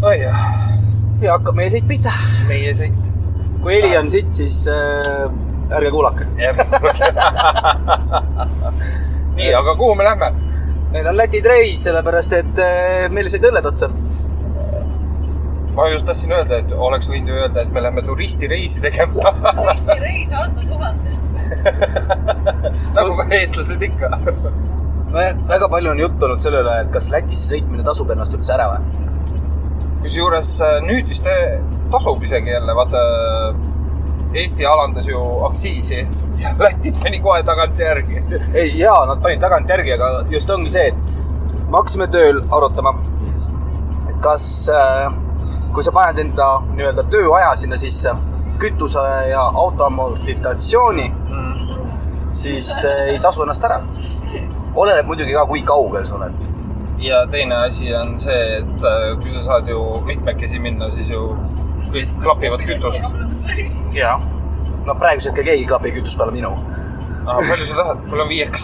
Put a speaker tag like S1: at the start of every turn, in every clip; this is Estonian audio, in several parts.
S1: käia .
S2: ja hakkab meie sõit pihta .
S1: meie sõit .
S2: kui heli on sitt , siis äh, ärge kuulake .
S1: nii , aga kuhu me lähme ?
S2: meil on Läti treis , sellepärast et äh, meil said õlled otsa .
S1: ma just tahtsin öelda , et oleks võinud ju öelda , et me lähme turistireisi tegema ,
S3: Eesti reis andnud juhendisse .
S1: nagu me eestlased ikka .
S2: väga palju on juttu olnud selle üle , et kas Lätisse sõitmine tasub ennast üldse ära või ?
S1: kusjuures äh, nüüd vist äh, tasub isegi jälle , vaata äh, Eesti alandas ju aktsiisi ja Läti pani kohe tagantjärgi .
S2: ei , jaa , nad panid tagantjärgi , aga just ongi see , et me hakkasime tööl arutama , et kas äh, , kui sa paned enda nii-öelda tööaja sinna sisse , kütuse ja auto amortitatsiooni , siis äh, ei tasu ennast ära . oleneb muidugi ka , kui kaugel sa oled .
S1: ja teine asi on see , et äh, kui sa saad ju mitmekesi minna , siis ju kõik klapivad kütust .
S2: jaa . no praegusel hetkel keegi ei klapi kütust peale minu .
S1: palju sa tahad ? mul on viieks .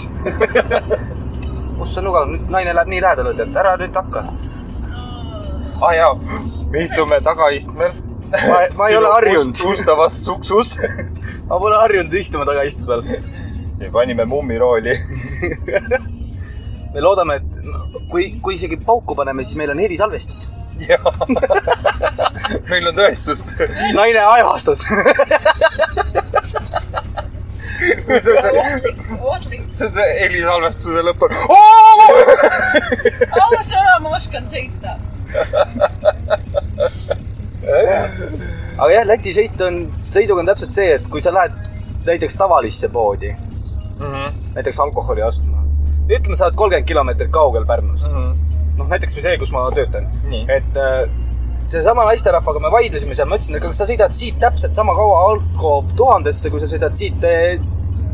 S2: kus on lugenud , nüüd naine läheb nii lähedale , ütleb , et ära nüüd hakka .
S1: ah jaa , me istume tagaistmel .
S2: Ma- ma ei ole harjunud.
S1: ustavas suksus
S2: ma pole harjunud istuma tagaistme peal
S1: ja panime mummirooli .
S2: me loodame , et no, kui , kui isegi pauku paneme , siis meil on helisalvestis .
S1: jaa , meil on tõestus .
S2: naine aevastas .
S1: see on see ,
S3: ohtlik , ohtlik .
S1: see on see helisalvestuse lõpp on .
S3: ausõna , ma oskan sõita .
S2: aga jah , Läti sõit on , sõiduga on täpselt see , et kui sa lähed näiteks tavalisse poodi ,
S1: Mhm,
S2: näiteks alkoholi ostma , ütleme , sa oled kolmkümmend kilomeetrit kaugel Pärnust . noh , näiteks või see , kus ma töötan .
S1: Nii.
S2: et äh, seesama naisterahvaga me vaidlesime seal , ma ütlesin , et kas sa sõidad siit täpselt sama kaua Alko tuhandesse , kui sa sõidad siit eh,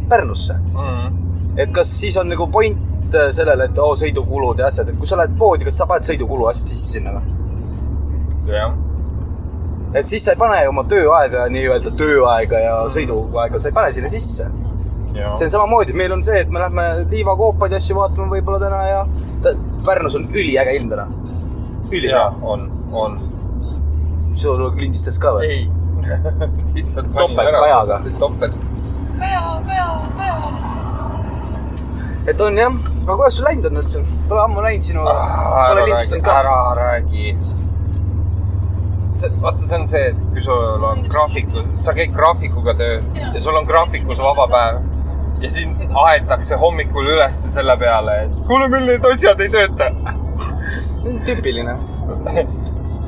S2: Pärnusse .
S1: mhm.
S2: et kas siis on nagu point eh, sellele , et oo , sõidukulud ja asjad , et kui sa lähed poodi , kas sa paned sõidukulu asjad sisse sinna või ?
S1: jah ,
S2: et siis sa ei pane oma tööaega , nii-öelda tööaega ja sõiduaega , sa ei pane sinna sisse .
S1: jah .
S2: see on samamoodi , meil on see , et me lähme liivakoopaid ja asju vaatame võib-olla täna ja ta, Pärnus on üliäge ilm täna . ülihea .
S1: on , on .
S2: sul lindistas ka või ?
S1: ei . lihtsalt .
S2: Topeltkajaga. .
S1: topelt .
S3: Kaja , Kaja , Kaja .
S2: et on jah , aga kuidas sul läinud on üldse ? Pole ammu näinud sinu
S1: Ah, ära
S2: pole
S1: räägi ,
S2: lindistanud ka .
S1: ära räägi . see , vaata , see on see , et kui sul on graafikud , sa käid graafikuga töös ja sul on graafikus vaba päev ja siis aetakse hommikul üles selle peale , et kuule , meil need asjad ei tööta .
S2: tüüpiline .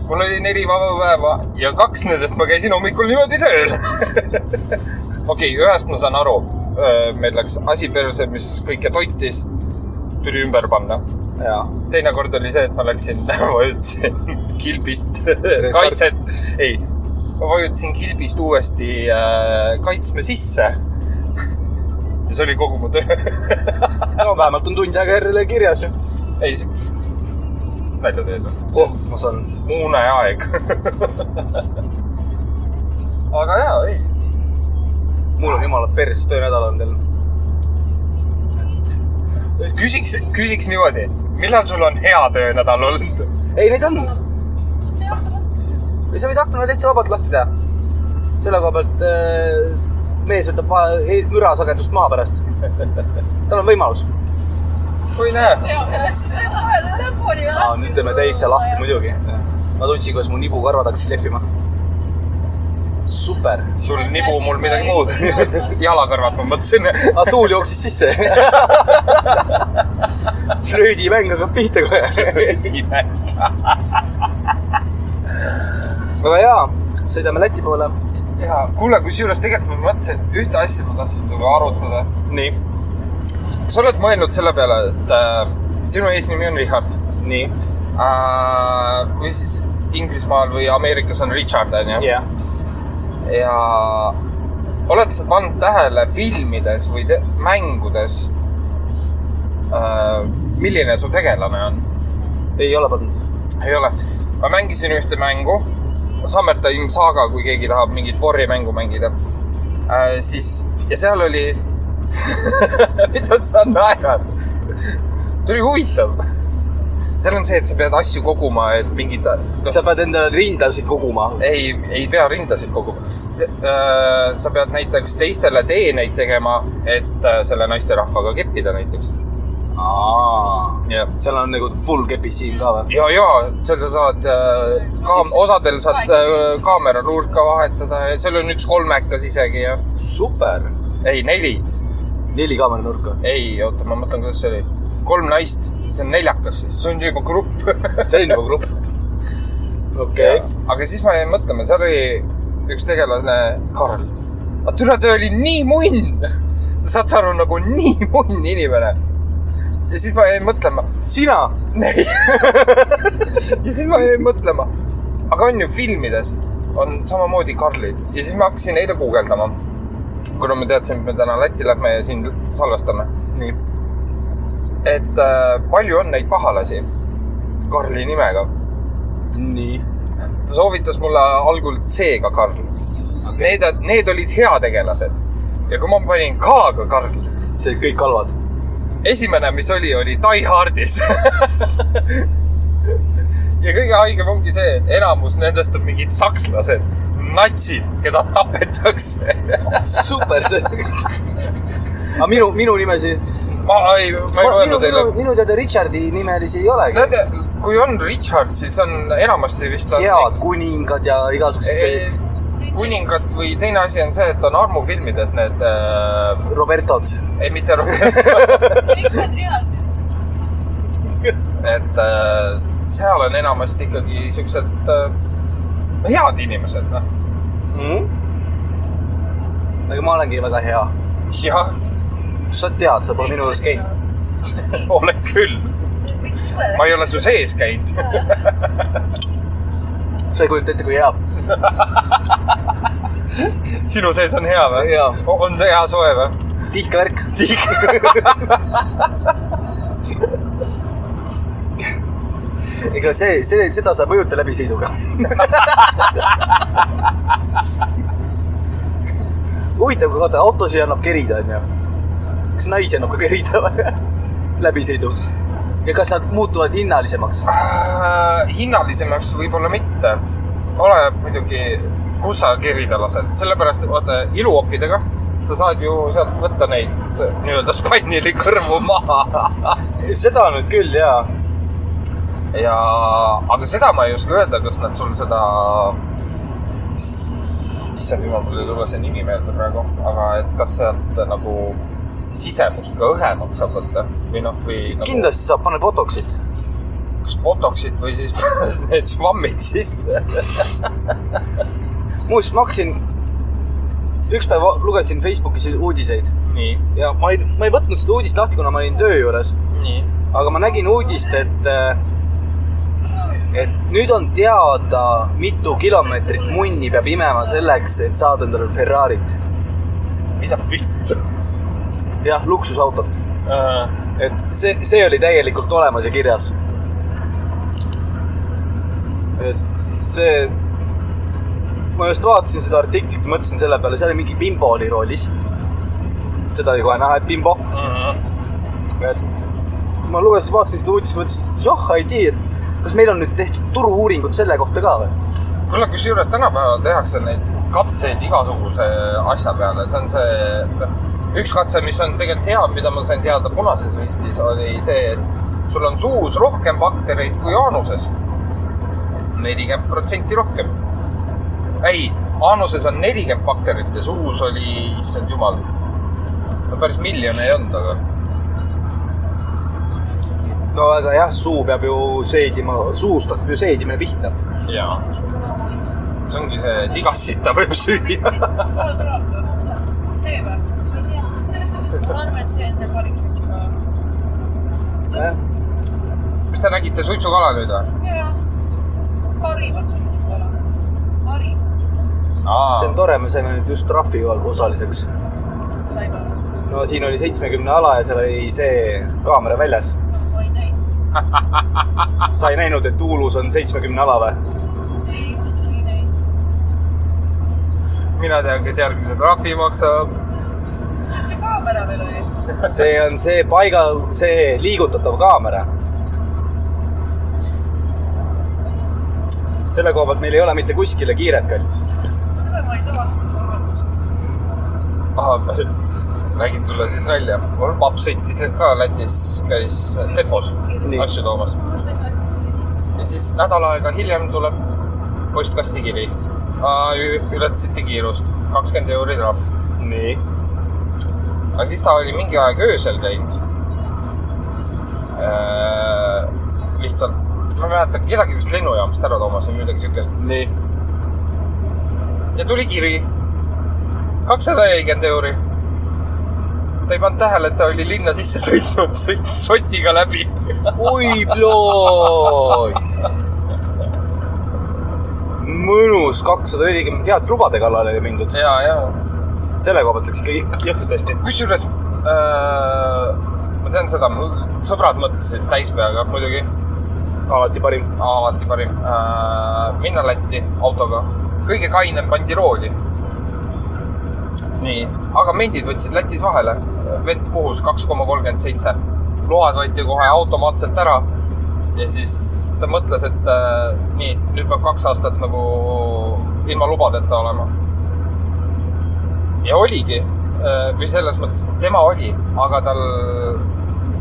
S1: mul oli neli vaba päeva ja kaks nendest ma käisin hommikul niimoodi tööl . okei , ühest ma saan aru , meil läks asi perse , mis kõike toitis , tuli ümber panna
S2: jaa .
S1: teinekord oli see , et ma läksin , vajutasin kilbist kaitset , ei , ma vajutasin kilbist uuesti äh, kaitsme sisse . ja see oli kogu mu töö .
S2: no vähemalt on tund aega järele kirjas ju .
S1: ei , nalja teed või ?
S2: oh , ma saan .
S1: muuneaeg . aga jaa , ei ,
S2: mul on jumala perses töönädal on teil .
S1: küsiks , küsiks niimoodi , millal sul on hea töönädal olnud ?
S2: ei , neid on või sa võid akna täitsa vabalt lahti teha . selle koha pealt äh, mees võtab vahe- he- mürasagedust maha pärast . tal on võimalus
S1: kui näed .
S3: siis võib vahele lõpuni
S2: no, . nüüd teeme täitsa lahti . muidugi . ma tundsin , kuidas mu nibukarvad hakkasid lehvima . super .
S1: sul nibu mul midagi muud . jalakõrvad , ma mõtlesin .
S2: aga tuul jooksis sisse . flöödimäng hakkab pihta kohe . aga jaa , sõidame Läti poole .
S1: ja kuule , kusjuures tegelikult ma mõtlesin , ühte asja ma tahtsin sinuga arutada .
S2: nii ,
S1: kas sa oled mõelnud selle peale , et äh, sinu eesnimi on Richard
S2: nii ,
S1: äh, või siis Inglismaal või Ameerikas on Richard onju
S2: jah .
S1: yeah. ja oled sa pannud tähele filmides või te- mängudes äh, , milline su tegelane on ?
S2: ei ole pannud .
S1: ei ole . ma mängisin ühte mängu , Summer Time Saga , kui keegi tahab mingit porjemängu mängida äh, . siis , ja seal oli , mida sa naerad ? see oli huvitav . seal on see , et sa pead asju koguma , et mingid no,
S2: sa pead endale rindasid koguma .
S1: ei , ei pea rindasid koguma . Äh, sa pead näiteks teistele teeneid tegema , et äh, selle naisterahvaga keppida näiteks . jah .
S2: seal on nagu full kepisiin ka või ?
S1: ja , ja seal sa saad äh, kaam-
S2: Six- ,
S1: osadel saad äh, kaamera nurka vahetada ja seal on üks kolmekas isegi ja .
S2: super .
S1: ei , neli ,
S2: neli kaameranurka .
S1: ei oota , ma mõtlen , kuidas see oli . kolm naist , see on neljakas siis , see on juba grupp .
S2: see on juba grupp . okei .
S1: aga siis ma jäin mõtlema , seal oli üks tegelane , Karl . aga türa , ta oli nii munn . saad sa aru , nagu nii munn inimene . ja siis ma jäin mõtlema .
S2: sina ?
S1: ja siis ma jäin mõtlema . aga on ju filmides on samamoodi Karlid ja siis ma hakkasin eile guugeldama . kuna ma teadsin , et me täna Lätti lähme ja siin salvestame ,
S2: nii .
S1: et äh, palju on neid pahalasi Karli nimega .
S2: nii .
S1: ta soovitas mulle algul C-ga Karl okay. . Need , need olid heategelased ja kui ma panin K-ga Karl ,
S2: see kõik halvad .
S1: esimene , mis oli , oli Die Hardis . ja kõige haigem ongi see , et enamus nendest on mingid sakslased , natsid , keda tapetakse .
S2: super , see . aga minu , minu nimesi ?
S1: ma ei , ma ei
S2: minu ,
S1: mõelnud teile
S2: minu ,. minu teada Richardi nimelisi ei olegi .
S1: Nende , kui on Richard , siis on enamasti vist on
S2: head kuningad ja igasugused
S1: Eh,
S2: sellised
S1: kuningad või teine asi on see , et on armufilmides need äh, ,
S2: Robertod .
S1: ei mitte rohkem
S3: rikkad reaalid .
S1: et äh, seal on enamasti ikkagi siuksed äh, head inimesed , noh .
S2: aga ma olengi väga hea .
S1: jah ,
S2: kas sa tead , sa pole minu juures käinud ?.
S1: olen küll . ma ei ole su sees käinud .
S2: sa ei kujuta ette , kui hea .
S1: sinu sees on hea või ?
S2: jaa ,
S1: on see hea soe või ?
S2: tihke värk . ega see , see , seda saab mõjuta läbi sõiduga . huvitav , kui vaata autosid annab kerida , onju . kas naisi annab ka kerida või ? läbisõidu . ja kas nad muutuvad hinnalisemaks ?
S1: Äh, hinnalisemaks võib-olla mitte . oleneb muidugi , kus sa kerida lased , sellepärast et vaata iluopidega sa saad ju sealt võtta neid äh, nii-öelda spannili kõrvu maha
S2: seda nüüd küll jaa .
S1: ja , aga seda ma ei oska öelda , kas nad sul seda , issand jumal , mul ei tule see nimi meelde praegu , aga et kas sealt nagu sisemust ka õhemaks saab võtta või noh , või nagu,
S2: kindlasti saab panna botox'it .
S1: kas botox'id või siis need švammid sisse .
S2: muuseas , ma hakkasin , üks päev lugesin Facebookis uudiseid
S1: nii ,
S2: ja ma ei , ma ei võtnud seda uudist lahti , kuna ma olin töö juures ,
S1: nii ,
S2: aga ma nägin uudist , et , et nüüd on teada , mitu kilomeetrit munni peab imema selleks , et saada endale Ferrarit .
S1: mida vittu
S2: jah , luksusautot .
S1: uh, ?
S2: et see , see oli täielikult olemas ja kirjas . et see , ma just vaatasin seda artiklit , mõtlesin selle peale , seal oli mingi bimbo oli roolis . seda oli kohe näha , et bimbo
S1: Mm,
S2: et ma lugesin , vaatasin seda uudist , mõtlesin , et joh , ei tea , et kas meil on nüüd tehtud turu-uuringut selle kohta ka või ?
S1: kuule , kusjuures tänapäeval tehakse neid katseid igasuguse asja peale , see on see , üks katse , mis on tegelikult hea , mida ma sain teada Punases Ristis , oli see , et sul on suus rohkem baktereid kui jaanuses . nelikümmend protsenti rohkem . ei , jaanuses on nelikümmend bakterit ja suus oli , issand jumal , no päris miljon ei olnud , aga
S2: no aga jah , suu peab ju seedima , suust hakkab ju seedimine pihta .
S1: jaa . see ongi see , et igast sitta võib süüa .
S3: see või ? ma arvan , et see on see parim suitsuga .
S1: kas te nägite suitsukala nüüd või ?
S3: jaa , parimad suitsukala . parim ,
S2: see on tore , me saime nüüd just trahvi osaliseks .
S3: sa ei mäleta ,
S2: no siin oli seitsmekümne ala ja seal oli see kaamera väljas .
S3: ma ei näinud .
S2: sa ei näinud , et Tuulus on seitsmekümne ala või ?
S3: ei , ei näinud .
S1: mina tean , kes järgmise trahvi maksab .
S3: see on see kaamera veel oli .
S2: see on see paiga , see liigutatav kaamera . selle koha pealt meil ei ole mitte kuskile kiiret , kallis .
S3: seda ma ei tuvastanud , vabandust .
S1: räägin sulle siis välja . mul paps sõitis ka Lätis , käis depos
S3: Nii.
S1: asju toomas ja siis nädal aega hiljem tuleb postkastikiri . ületasite kiirust , kakskümmend euri trahv .
S2: nii .
S1: aga siis ta oli mingi aeg öösel käinud . lihtsalt , ma ei mäleta , kedagi vist lennujaamast ära toomas või midagi siukest
S2: nii .
S1: ja tuli kiri . kakssada nelikümmend euri . ta ei pannud tähele , et ta oli linna sisse sõitnud , sõitis sotiga läbi .
S2: oi plood . mõnus , kakssada nelikümmend head lubade kallale oli mindud .
S1: ja , ja
S2: selle koha pealt läks ikkagi jõhkralt hästi .
S1: kusjuures äh, ma tean seda , mu sõbrad mõtlesid täis peaga muidugi ,
S2: alati parim .
S1: alati parim äh, , minna Lätti autoga . kõige kainem pandi rooli . nii , aga mendid võtsid Lätis vahele , vett puhus kaks koma kolmkümmend seitse , load võeti kohe automaatselt ära ja siis ta mõtles , et äh, nii , nüüd peab kaks aastat nagu ilma lubadeta olema . ja oligi äh, või selles mõttes , et tema oli , aga tal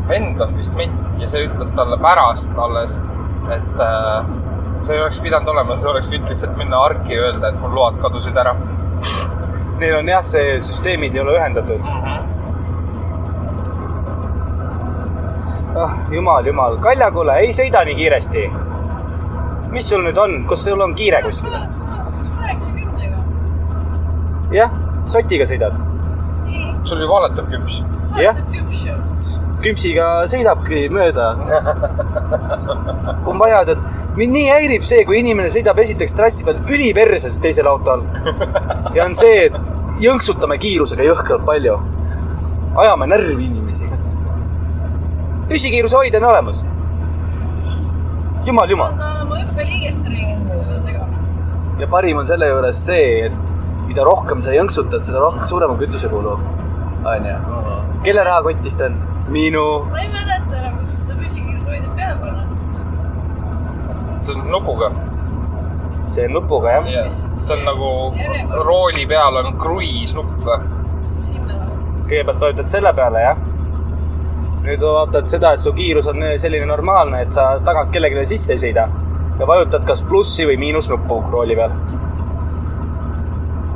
S1: vend on vist ment ja see ütles talle pärast alles , et äh, see ei oleks pidanud olema , see oleks võinud lihtsalt minna arki ja öelda , et mul load kadusid ära .
S2: Neil on jah , see süsteemid ei ole ühendatud ah jumal , jumal , Kalja , kuule , ei sõida nii kiiresti . mis sul nüüd on , kas sul on kiire kuskil ?
S3: kaheksakümnega .
S2: jah , sotiga sõidad .
S3: ei ,
S1: sul ju valetab küps .
S2: Jah.
S3: vaatab küps ju .
S2: küpsiga sõidabki mööda . on vaja , tead , mind nii häirib see , kui inimene sõidab esiteks trassi peal üliperses teisel autol . ja on see , et jõnksutame kiirusega jõhkralt palju . ajame närvi inimesi . püsikiiruse hoidja on olemas . jumal ,
S3: ma
S2: jumal .
S3: tahan oma hüppeliigest treenida selle segamini .
S2: ja parim on selle juures see , et mida rohkem sa jõnksutad , seda rohkem , suurema kütusekulu . onju . kelle rahakotist on ? minu .
S3: ma ei mäleta enam , kuidas seda püsikiirushoidjat peale panna .
S1: see on nupuga
S2: see on nupuga jah .
S1: Jah, see on nagu rooli peal on kruiisnupp või ?
S3: sinna .
S2: kõigepealt vajutad selle peale jah . nüüd vaatad seda , et su kiirus on äh, selline normaalne , et sa tagant kellelegi sisse ei sõida ja vajutad kas plussi või miinusnuppu rooli peal .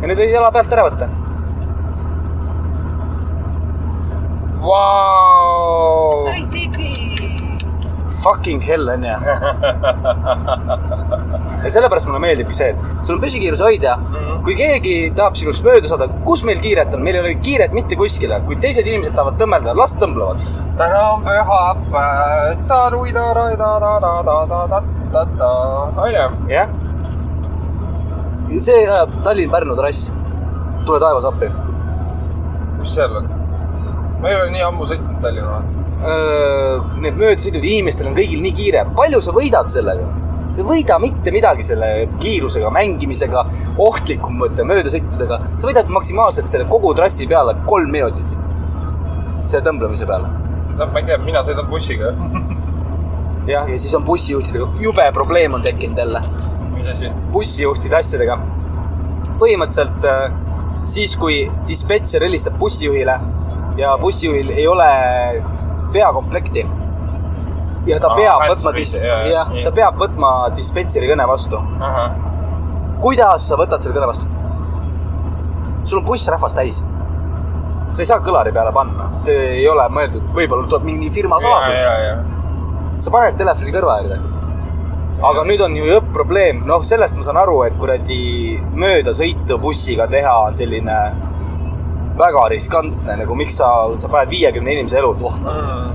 S2: ja nüüd võid jala pealt ära võtta .
S1: Vau ,
S3: I did it .
S2: Fucking hell onju . ja sellepärast mulle meeldibki see , et sul on püsikiiruse hoidja mm .
S1: Mhm.
S2: -hmm. kui keegi tahab sinust mööda saada , kus meil kiiret on , meil ei ole kiiret mitte kuskile , kui teised inimesed tahavad tõmmelda , las tõmblevad .
S1: täna on pühapäev , ta-ru-ta-ra-ta-ra-ta-ta-ta-ta , onju .
S2: jah . see ajab Tallinn-Pärnu trass . tule taevas appi .
S1: mis seal on ? ma ei ole nii ammu sõitnud Tallinna .
S2: Need möödasõidud , inimestel on kõigil nii kiire , palju sa võidad sellega ? sa ei võida mitte midagi selle kiirusega , mängimisega , ohtlikum mõte möödasõitudega , sa võidad maksimaalselt selle kogu trassi peale kolm minutit . selle tõmblemise peale .
S1: noh , ma ei tea , mina sõidan bussiga .
S2: jah , ja siis on bussijuhtidega , jube probleem on tekkinud jälle
S1: mis asi ?
S2: bussijuhtide asjadega . põhimõtteliselt äh, siis , kui dispetšer helistab bussijuhile ja bussijuhil ei ole peakomplekti ja ta
S1: Aa,
S2: peab
S1: häält
S2: võtma ,
S1: võite, jaa, jaa,
S2: jah ,
S1: nii.
S2: ta peab võtma dispetšeri kõne vastu . kuidas sa võtad selle kõne vastu ? sul on buss rahvast täis . sa ei saa kõlari peale panna , see ei ole mõeldud , võib-olla tuleb mingi firma saladus sa paned telefoni kõrva äärde . aga nüüd on ju jõpp probleem , noh , sellest ma saan aru , et kuradi möödasõitu bussiga teha on selline väga riskantne , nagu miks sa , sa paned viiekümne inimese elud ohtu .
S1: Mm.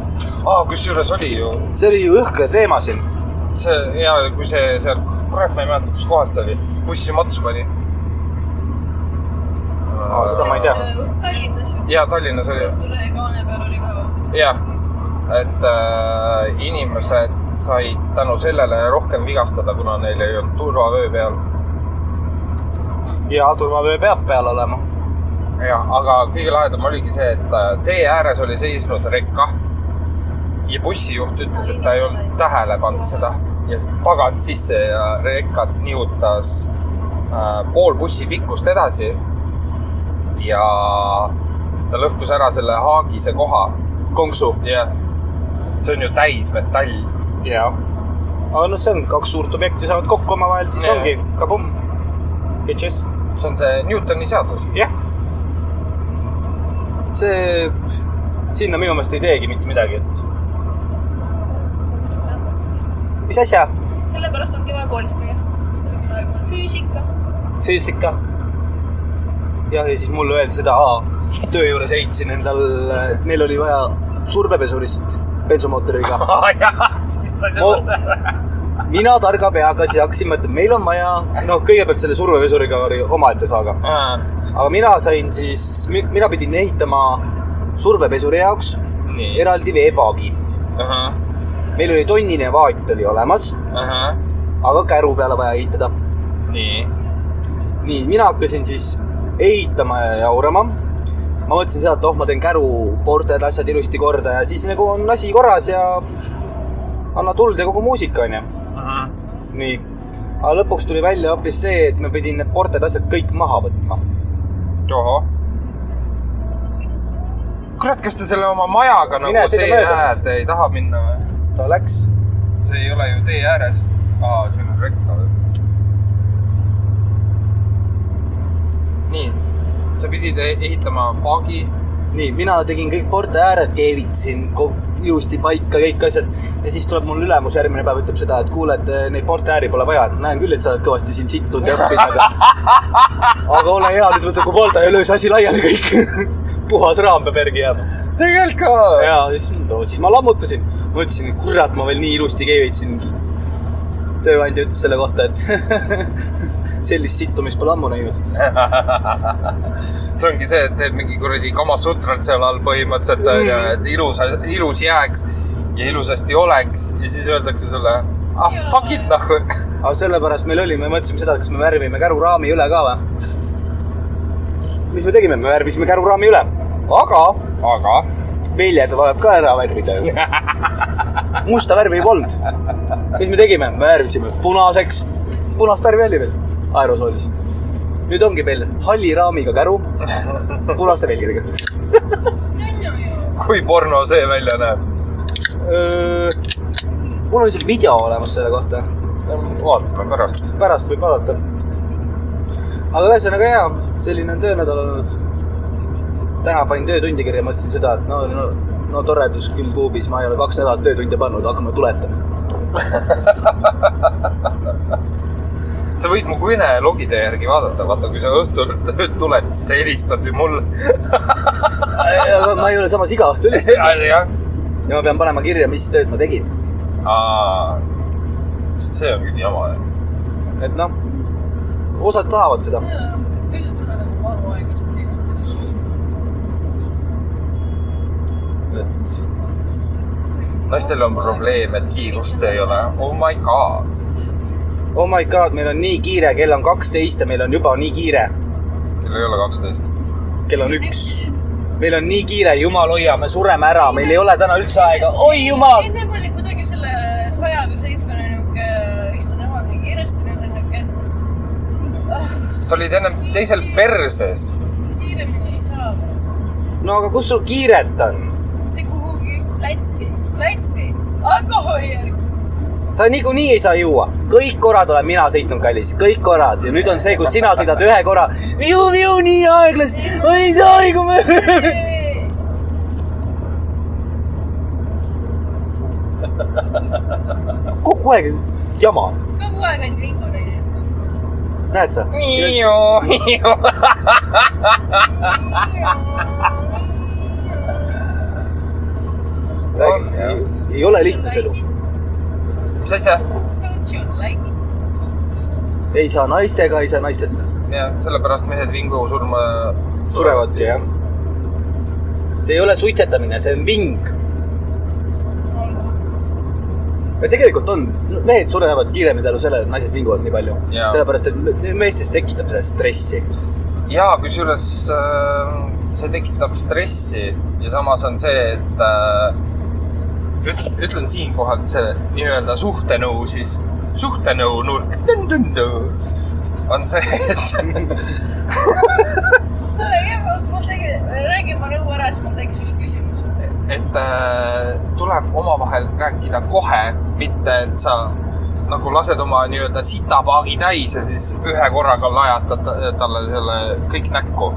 S1: aa , kusjuures oli ju
S2: see oli ju õhkne teema siin .
S1: see ja kui see seal , kurat , ma ei mäleta , kus kohas see oli , bussi matsu pani .
S2: Aa, seda ma ei tea.
S3: Tallinnas ju .
S1: ja Tallinnas oli
S3: õhtulehe kaane peal oli ka .
S1: jah , et äh, inimesed said tänu sellele rohkem vigastada , kuna neil ei olnud turvavöö peal .
S2: ja turvavöö peab peal olema .
S1: jah , aga kõige lahedam oligi see , et äh, tee ääres oli seisnud rekka ja bussijuht ütles , et ta ei olnud tähele pannud seda . ja s- tagant sisse ja rekat nihutas äh, pool bussi pikkust edasi . ja ta lõhkus ära selle haagise koha ,
S2: konksu .
S1: jah . see on ju täismetall ,
S2: jaa . aga noh , see on kaks suurt objekti saavad kokku omavahel , siis
S1: Jaa.
S2: ongi kabumm . Bitches .
S1: see on see Newtoni seadus .
S2: jah . see , sinna minu meelest ei teegi mitte midagi , et mis asja ,
S3: sellepärast ongi vaja koolis käia . füüsika .
S2: füüsika . jah , ja siis mulle öeldi seda , töö juures heitsin endal , neil oli vaja survepesurisid bensumootoriga .
S1: siis on
S2: Mo- mina targa peaga siis hakkasin mõtlema , meil on vaja , noh , kõigepealt selle survepesuriga oli omaette saaga .
S1: Äh,
S2: aga mina sain siis , mina pidin ehitama survepesuri jaoks
S1: nii .
S2: eraldi veepaagi .
S1: ahah ,
S2: meil oli tonnine vaat oli olemas ,
S1: ahah ,
S2: aga käru peale vaja ehitada .
S1: nii .
S2: nii , mina hakkasin siis ehitama ja jaurama . ma mõtlesin seda , et oh , ma teen käru , porded , asjad ilusti korda ja siis nagu on asi korras ja anna tuld ja kogu muusika , onju .
S1: ahah ,
S2: nii . aga lõpuks tuli välja hoopis see , et ma pidin need porded , asjad kõik maha võtma .
S1: tohoh . kurat , kas te selle oma majaga nagu
S2: Mine sõida
S1: tee
S2: mööda.
S1: äärde ei taha minna või ?
S2: ta läks ,
S1: see ei ole ju tee ääres . aa , siin on rekka veel . nii , sa pidid e- ehitama paagi .
S2: nii , mina tegin kõik porde ääred , keevitasin ko- ilusti paika kõik asjad ja siis tuleb mul ülemus järgmine päev , ütleb seda , et kuule , et eh, neid porte ääri pole vaja , et ma näen küll , et sa oled kõvasti siin sittunud ja õppinud , aga aga ole hea , nüüd võta Kuvolda ja löö see asi laiali kõik . puhas raam peab järgi jääma .
S1: tegelikult ka
S2: ja siis , no siis ma lammutasin , ma ütlesin , et kurat , ma veel nii ilusti keevitasin . tööandja ütles selle kohta , et sellist sittumist pole ammu näinud .
S1: see ongi see , et teed mingi kuradi kamasutrat seal all põhimõtteliselt onju ,
S2: Mm.
S1: et ilus , ilus jääks ja ilusasti oleks ja siis öeldakse sulle ah fuck it noh .
S2: aga sellepärast meil oli , me mõtlesime seda , et kas me värvime käruraami üle ka või . mis me tegime , me värvisime käruraami üle , aga
S1: aga
S2: väljad vajab ka ära värvida ju . musta värvi ei polnud . mis me tegime , me värvisime punaseks , punast värvi oli veel aerosoolis . nüüd ongi meil halli raamiga käru , punaste velgedega .
S3: on ju ju .
S1: kui porno see välja näeb ?
S2: Äh, mul on isegi video olemas selle kohta ,
S1: vaatame pärast .
S2: pärast võib vaadata . aga ühesõnaga hea , selline on töönädal olnud . täna panin töötundi kirja , mõtlesin seda , et no , no , no toredus küll kuubis , ma ei ole kaks nädalat töötunde pannud , hakkame tuletama .
S1: sa võid mu kõne logide järgi vaadata , vaata kui sa õhtul töölt tuled , siis sa helistad ju mulle .
S2: aga ma ei ole samas iga õhtu üles
S1: jah , jah .
S2: ja ma pean panema kirja , mis tööd ma tegin .
S1: see on küll jama jah .
S2: et noh , osad tahavad seda .
S3: küll tuleb nagu valu aeglasti siin .
S1: naistel on probleem , et kiirust ei ole . Oh my god .
S2: Oh my god , meil on nii kiire , kell on kaksteist ja meil on juba nii kiire ,
S1: kell ei ole kaksteist .
S2: kell on üks . meil on nii kiire , jumal hoia , me sureme ära , meil ei ole täna üldse aega , oi jumal .
S3: ennem oli kuidagi selle saja või seitsmene niuke , issand jumal , nii kiiresti , nüüd Ah, on niuke
S1: sa olid ennem teisel perses .
S3: kiiremini ei saa .
S2: no aga kus sul kiiret on ?
S3: Te kuhugi Lätti , Lätti , alkoholi järgi .
S2: sa niikuinii ei saa juua , kõik korrad olen mina sõitnud , kallis , kõik korrad ja nüüd on see , kus sina sõidad ühe korra . viu , viu nii aeglaselt , ma ei saa aegu . kogu aeg jama ,
S3: kogu aeg ainult vingud onju .
S2: näed sa ? ei ole lihtne see elu ,
S1: mis asja ?
S3: Don't you like it ?
S2: ei saa naistega , ei saa naisteta .
S1: jah , sellepärast mehed vingu surma .
S2: surevad ju jah . see ei ole suitsetamine , see on ving . ja tegelikult on , mehed surevad kiiremini tänu sellele , et naised vinguvad nii palju .
S1: Jaa.
S2: sellepärast , et me- meestes tekitab seda stressi .
S1: ja kusjuures äh, see tekitab stressi ja samas on see , et äh, ütlen siinkohal see nii-öelda suhtenõu siis , suhtenõu nurk tün-tün-tün, on see , et
S3: kuule , mul tegelikult , räägi ma nõu ära , siis mul tekkis üks küsimus .
S1: et äh, tuleb omavahel rääkida kohe , mitte et sa nagu lased oma nii-öelda sitapaagi täis ja siis ühe korraga lajatad ta- talle selle kõik näkku .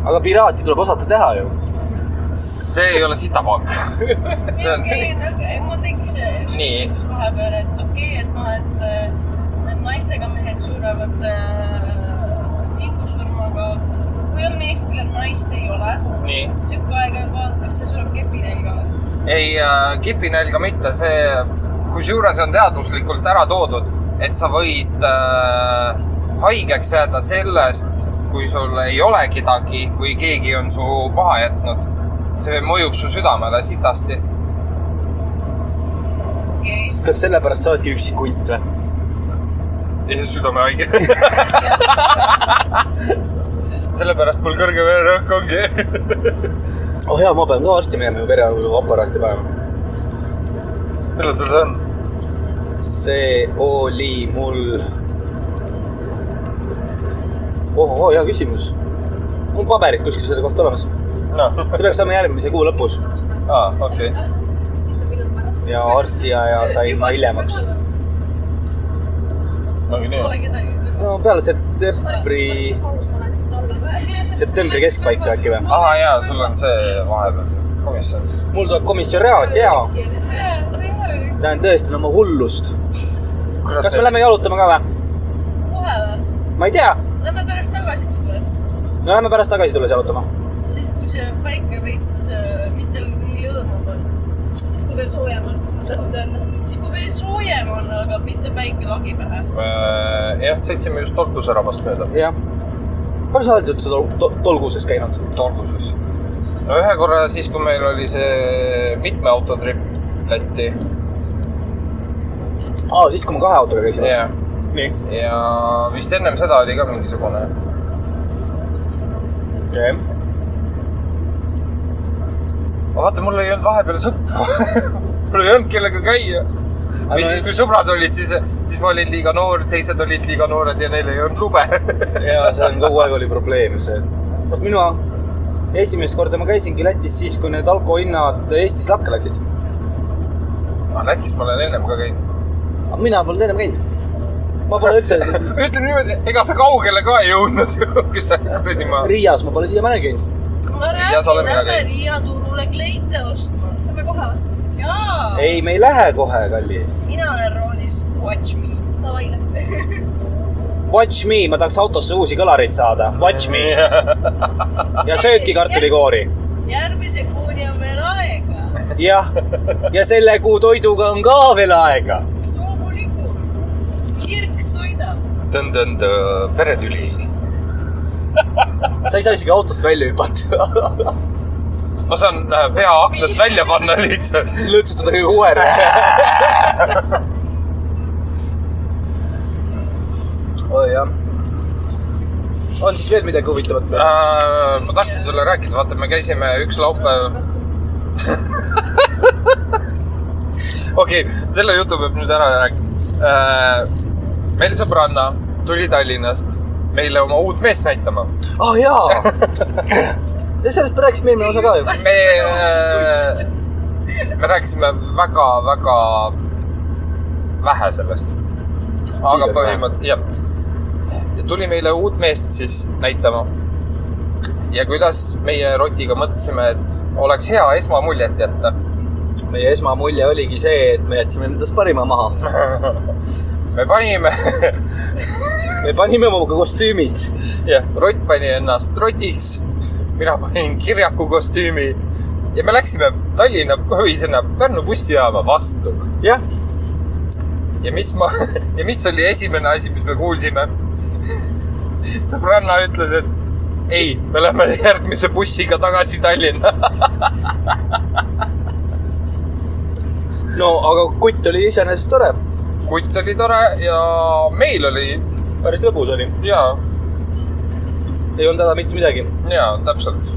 S2: aga piraati tuleb osata teha ju .
S1: see ei ole sitapaak . see on ,
S3: ei , ei mul tekkis üks
S1: Nii.
S3: küsimus vahepeal , et okei okay, , et noh , et äh, need naistega mehed surevad äh, ingusurmaga . kui on mees , kellel naist ei ole ,
S1: nii .
S3: tükk aega juba , kas see sureb kepinälga või ?
S1: ei äh, kipinälga mitte , see , kusjuures on teaduslikult ära toodud , et sa võid äh, haigeks jääda sellest , kui sul ei ole kedagi või keegi on su maha jätnud . see mõjub su südamele sitasti .
S3: okei okay. ,
S2: kas sellepärast sa oledki üksik hunt või ?
S1: südamehaige . sellepärast mul kõrge vererõhk ongi .
S2: oh jaa , ma pean ka varsti minema ju pereaparaati panema .
S1: millal sul see on ?
S2: see oli mul . ohohoo , Oh, hea küsimus . mul paberid kuskil selle kohta olemas .
S1: noh ,
S2: see peaks olema järgmise kuu lõpus
S1: aa , Ah, okei okay. .
S2: ja arstiaja sai ma hiljemaks .
S1: ongi
S3: Pole
S1: nii .
S3: kedagi .
S2: no peale septembri , septembri keskpaika äkki või ?
S1: ahah , jaa , sul on see vahepeal komisjonis .
S2: mul tuleb komisjoniaat ja
S3: see ei ole üks .
S2: lähen tõestan oma hullust . kas me lähme jalutama ka või ?
S3: kohe või ?
S2: ma ei tea ,
S3: Lähme pärast tagasi tulles ,
S2: no lähme pärast tagasi tulles jalutama .
S3: siis kui see päike veits äh, mitte nii lõõmav on .
S4: siis kui veel soojem on , tahtsid öelda ?
S3: siis kui veel soojem on , aga mitte päike lagi pähe .
S1: Äh, jah , sõitsime just Tartu säravast mööda .
S2: jah . palju sa oled üldse tol- to- tolguses käinud ?
S1: Tartuses . no ühe korra siis , kui meil oli see mitme auto trip Lätti
S2: aa , siis kui ma kahe autoga käisin
S1: ja ,
S2: nii ,
S1: ja vist ennem seda oli ka mingisugune .
S2: okei .
S1: vaata , mul ei olnud vahepeal sõpru . mul ei olnud kellega käia . või siis , kui sõbrad olid , siis , siis ma olin liiga noor , teised olid liiga noored ja neil ei olnud lube .
S2: ja see on kogu aeg oli probleem ju see . minu esimest korda ma käisingi Lätis siis , kui need alkohinnad Eestis lakke läksid .
S1: aga Lätis ma olen ennem ka käinud .
S2: aga mina polnud ennem käinud . ma pole üldse ,
S1: ütleme niimoodi , ega sa kaugele ka ei jõudnud ju , kui sa kuradi maa .
S2: Riias ma pole siiamaani käinud .
S3: ma
S1: Ja sa oled
S3: räägin ,
S1: mina
S3: lähme
S1: käinud.
S3: Riia turule kleite ostma .
S4: Lähme kohe või ?
S3: jaa .
S2: ei , me ei lähe kohe , kallis .
S3: mina olen roolis Watch Me .
S4: Davai , lähme .
S2: Watch me , ma tahaks autosse uusi kõlareid saada . Watch me ja sööki kartulikoori .
S3: järgmise kuuni on veel aega .
S2: jah , ja selle kuu toiduga on ka veel aega .
S3: loomulikult . kirk toidab .
S1: tõnd-tõnd , peretüli .
S2: sa ei saa isegi autost välja hüpata .
S1: ma saan äh, pea aknast välja panna lihtsalt .
S2: lõõtsutada kõige uuele . oi Oh, jah . on siis veel midagi huvitavat või ?
S1: Äh, ma tahtsin sulle rääkida , vaata , me käisime üks laupäev . okei okay, , selle jutu peab nüüd ära rääkima äh, . meil sõbranna tuli Tallinnast meile oma uut meest näitama .
S2: aa Ah, jaa . ja sellest me rääkisime eelmine osa ka ju .
S1: me äh, , me rääkisime väga-väga vähe sellest . aga
S2: Liiga vähe.
S1: põhimõtteliselt , jah . tuli meile uut meest siis näitama . ja kuidas meie Rotiga mõtlesime , et oleks hea esmamuljet jätta
S2: meie esmamulje oligi see , et me jätsime endast parima maha .
S1: me panime ,
S2: me panime oma kostüümid .
S1: jah , Rott pani ennast rotiks , mina panin kirjaku kostüümi ja me läksime Tallinna või sinna Pärnu bussijaama vastu .
S2: jah ,
S1: ja mis ma ja mis oli esimene asi , mis me kuulsime ? sõbranna ütles , et ei , me lähme järgmise bussiga tagasi Tallinna .
S2: no aga kutt oli iseenesest tore ,
S1: kutt oli tore ja meil oli
S2: päris lõbus oli ,
S1: ja ,
S2: ei olnud häda mitte midagi .
S1: ja täpselt .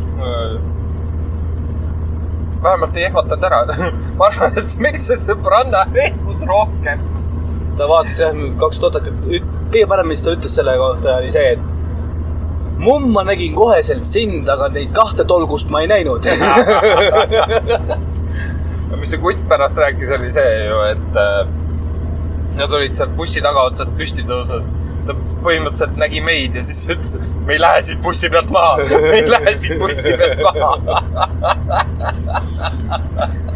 S1: vähemalt ei ehmatanud ära . ma arvan , et see- miks see sõbranna ehmus rohkem .
S2: ta vaatas jah , kaks totakat , kõige parem , mis ta ütles selle kohta oli see , et mumm , ma nägin koheselt sind , aga neid kahte tolgust ma ei näinud .
S1: mis see kutt pärast rääkis , oli see ju , et äh, nad olid seal bussi tagaotsast püsti tõusnud . ta põhimõtteliselt nägi meid ja siis ütles , me ei lähe siit bussi pealt maha , me ei lähe siit bussi pealt maha .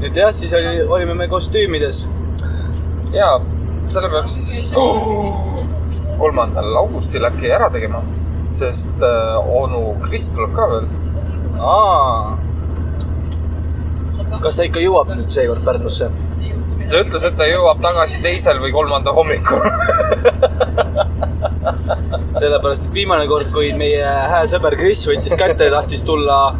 S2: nüüd jah , siis oli , olime me kostüümides .
S1: ja selle peaks kolmandal augustil äkki ära tegema , sest äh, onu Kris tuleb ka veel .
S2: kas ta ikka jõuab nüüd seekord Pärnusse ?
S1: ta ütles , et ta jõuab tagasi teisel või kolmanda hommikul .
S2: sellepärast , et viimane kord , kui meie hää sõber Kris võttis kätte ja tahtis tulla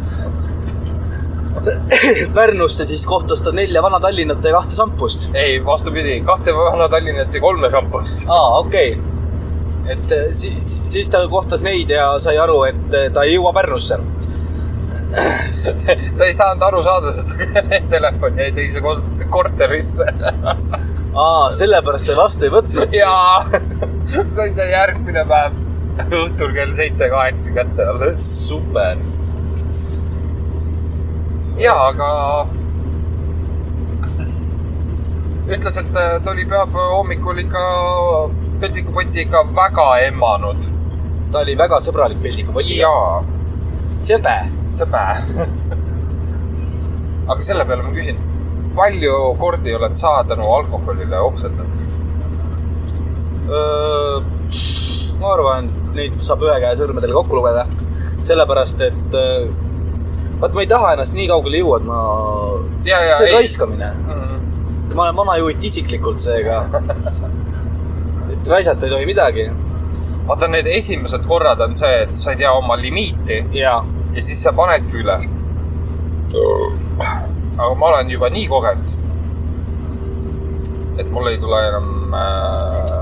S2: Pärnusse , siis kohtus ta nelja Vana-Tallinnat ja kahte sampust .
S1: ei , vastupidi , kahte vana Tallinnat ja kolme šampust .
S2: aa , okei okay. . et eh, siis , siis ta kohtas neid ja sai aru , et eh, ta ei jõua Pärnusse .
S1: ta ei saanud aru saada , sest telefon jäi teise kos- korterisse .
S2: aa , sellepärast ta vastu ei võtnud .
S1: ja sain ta järgmine päev õhtul kell seitse-kaheksa kätte alles .
S2: super .
S1: ja , aga ütles , et äh, ta oli pühapäeva hommikul ikka peldikupoti ikka väga emmanud .
S2: ta oli väga sõbralik peldikupoti .
S1: jaa
S2: sebe .
S1: sõbe . aga selle peale ma küsin , palju kordi oled sa tänu alkoholile oksendatud ?
S2: ma arvan , neid saab ühe käe sõrmedel kokku lugeda . sellepärast , et öö, vaat ma ei taha ennast nii kaugele juua , et ma ,
S1: ja , ja
S2: see on
S1: ei .
S2: raiskamine . ma olen vanajuut isiklikult , seega et raisata ei tohi midagi .
S1: vaata , need esimesed korrad on see , et sa ei tea oma limiiti
S2: jaa ,
S1: ja siis sa panedki üle . aga ma olen juba nii kogenud , et mul ei tule enam äh,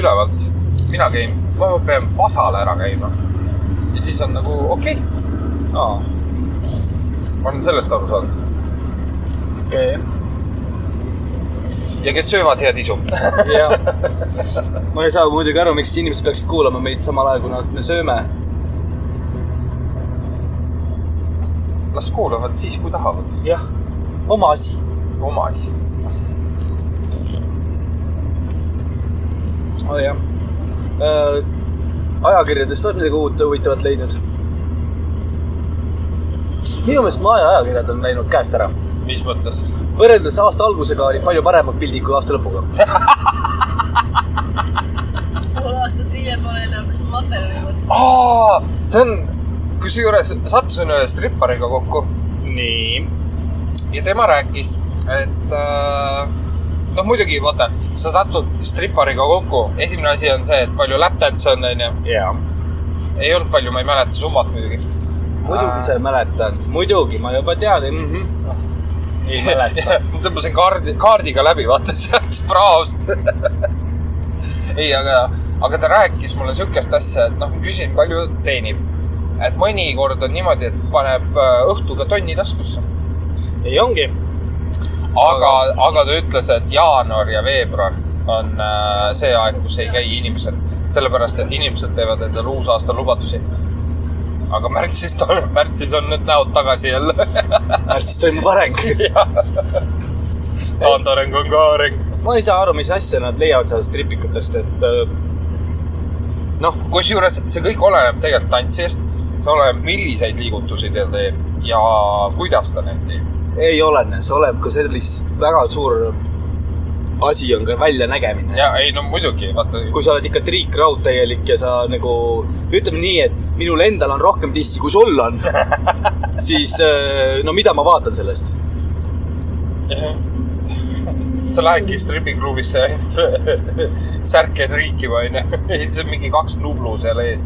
S1: ülevalt . mina käin , ma pean pasale ära käima . ja siis on nagu okei okay, ,
S2: aa ,
S1: ma olen sellest aru saanud .
S2: okei .
S1: ja kes söövad , head isu .
S2: jah , ma ei saa muidugi aru , miks inimesed peaksid kuulama meid samal ajal , kui nad , me sööme .
S1: las kuulavad siis , kui tahavad .
S2: jah , oma asi .
S1: oma asi .
S2: oh, . jah . Äh, ajakirjadest oled midagi uut huvitavat leidnud ? minu meelest Maaja ajakirjad on läinud käest ära .
S1: mis mõttes ?
S2: võrreldes aasta algusega olid palju paremad pildid kui aasta lõpuga .
S3: pool aastat hiljem ma olen enam siin materjali võtnud .
S1: aa , see on , kusjuures sattusin ühe strippariga kokku
S2: nii .
S1: ja tema rääkis , et äh, noh , muidugi vaata , sa satud strippariga kokku , esimene asi on see , et palju läptantse on , onju .
S2: jaa .
S1: ei olnud palju , ma ei mäleta summat muidugi . Äh,
S2: muidugi sa mäletad , muidugi , ma juba tean mm . -hmm. ei mäleta .
S1: ma tõmbasin kaardi , kaardiga läbi , vaata sealt praost . ei , aga , aga ta rääkis mulle sihukest asja , et noh , ma küsin , palju teenib . et mõnikord on niimoodi , et paneb äh, õhtuga tonni taskusse .
S2: ei ongi .
S1: aga , aga ta ütles , et jaanuar ja veebruar on äh, see aeg , kus ei käi inimesed , sellepärast et inimesed teevad endale uusaasta lubadusi . aga märtsis , märtsis on need näod tagasi jälle .
S2: märtsis toimub areng .
S1: taandareng on ka areng .
S2: ma ei saa aru , mis asja nad leiavad sellest tripikutest , et äh,
S1: noh , kusjuures see kõik oleneb tegelikult tantsijast , see oleneb , milliseid liigutusi ta teeb ja kuidas ta neid teeb .
S2: ei olene , see oleneb ka sellist väga suur asi on ka väljanägemine .
S1: ja ei no muidugi , vaata
S2: kui sa oled ikka triikraud täielik ja sa nagu , ütleme nii , et minul endal on rohkem dissi , kui sul on , siis äh, no mida ma vaatan sellest ?
S1: sa lähedki stripiklubisse ainult särke triikima onju . ja siis on mingi kaks Nublu seal ees .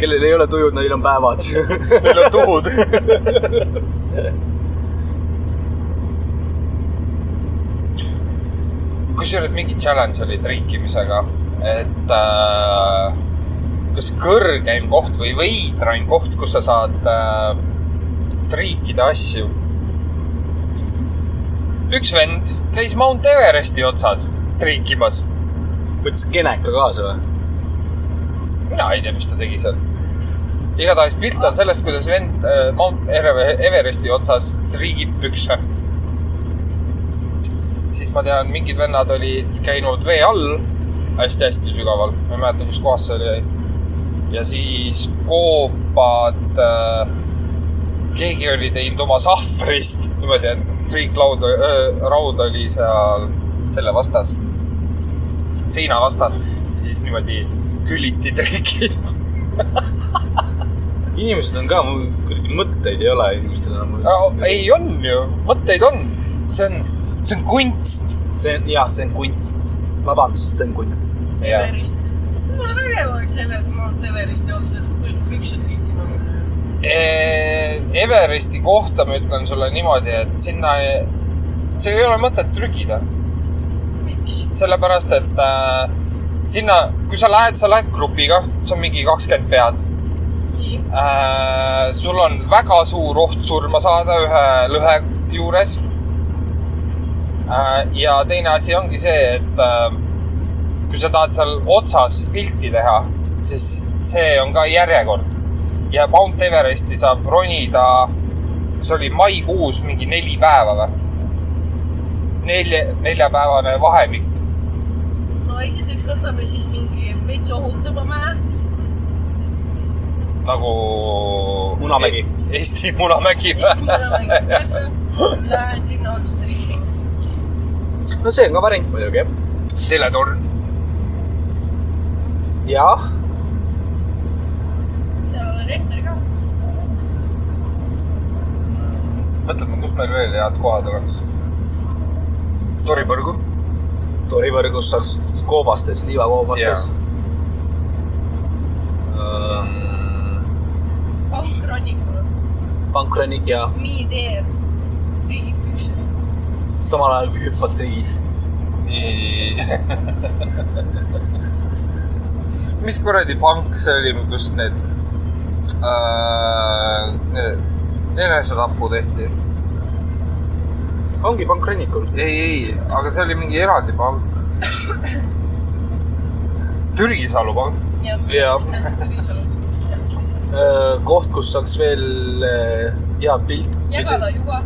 S2: kellel ei ole tujud , neil on päevad .
S1: Neil on tuhud . kusjuures mingi challenge oli triikimisega , et äh, kas kõrgeim koht või veidraim koht , kus sa saad äh, triikida asju . üks vend käis Mount Everesti otsas triikimas .
S2: võttis keneka kaasa või ?
S1: mina ei tea , mis ta tegi seal . igatahes pilt on sellest , kuidas vend äh, Mount Ere- Everesti otsas triigib pükse . siis ma tean , mingid vennad olid käinud vee all hästi-hästi sügaval , ma ei mäleta , kus kohas see oli . ja siis koopad äh, , keegi oli teinud oma sahvrist , niimoodi , et triiklaud , raud oli seal selle vastas , seina vastas , siis niimoodi küliti triikid .
S2: inimesed on ka , mul kuradi mõtteid ei ole inimestel enam .
S1: Äh, ei on ju , mõtteid on , see on , see on kunst .
S2: see on , jah , see on kunst . vabandust , see on kunst .
S3: Everest . mulle vägev oleks Ever- , Mount Everesti otsa püksed liitima . nagu-
S1: E, Everesti kohta ma ütlen sulle niimoodi , et sinna , see ei ole mõtet trügida ,
S3: miks ?
S1: sellepärast et äh, sinna , kui sa lähed , sa lähed grupiga , see on mingi kakskümmend pead
S3: nii ,
S1: äh, . sul on väga suur oht surma saada ühe lõhe juures äh, . ja teine asi ongi see , et äh, kui sa tahad seal otsas pilti teha , siis see on ka järjekord . ja Mount Everesti saab ronida , kas oli maikuus mingi neli päeva või ? nelja , neljapäevane vahemik .
S3: no esiteks võtame siis mingi veits ohutama mäe .
S1: nagu .
S2: Munamägi. .
S1: Eesti Munamägi või ?
S3: Lähen sinna otsa triikima .
S2: no see on ka variant muidugi , jah .
S1: teletorn .
S2: jah ,
S3: seal on elekter ka .
S1: mõtleme , kus meil veel head kohad oleks . toripõrgu .
S2: torivõrgus saaks koobastes , liivakoobastes .
S3: pankrannikul on
S2: pankronik ja
S3: mid-air triigipüksed .
S2: samal ajal kui hüppad riigid .
S1: mis kuradi pank see oli , kus need äh, need enesetapu tehti ?
S2: ongi pankronikul .
S1: ei , ei , aga see oli mingi eraldi pank . Türgisalu pank .
S2: Jah. . koht , kus saaks veel äh, hea pilt .
S3: Jägala juga .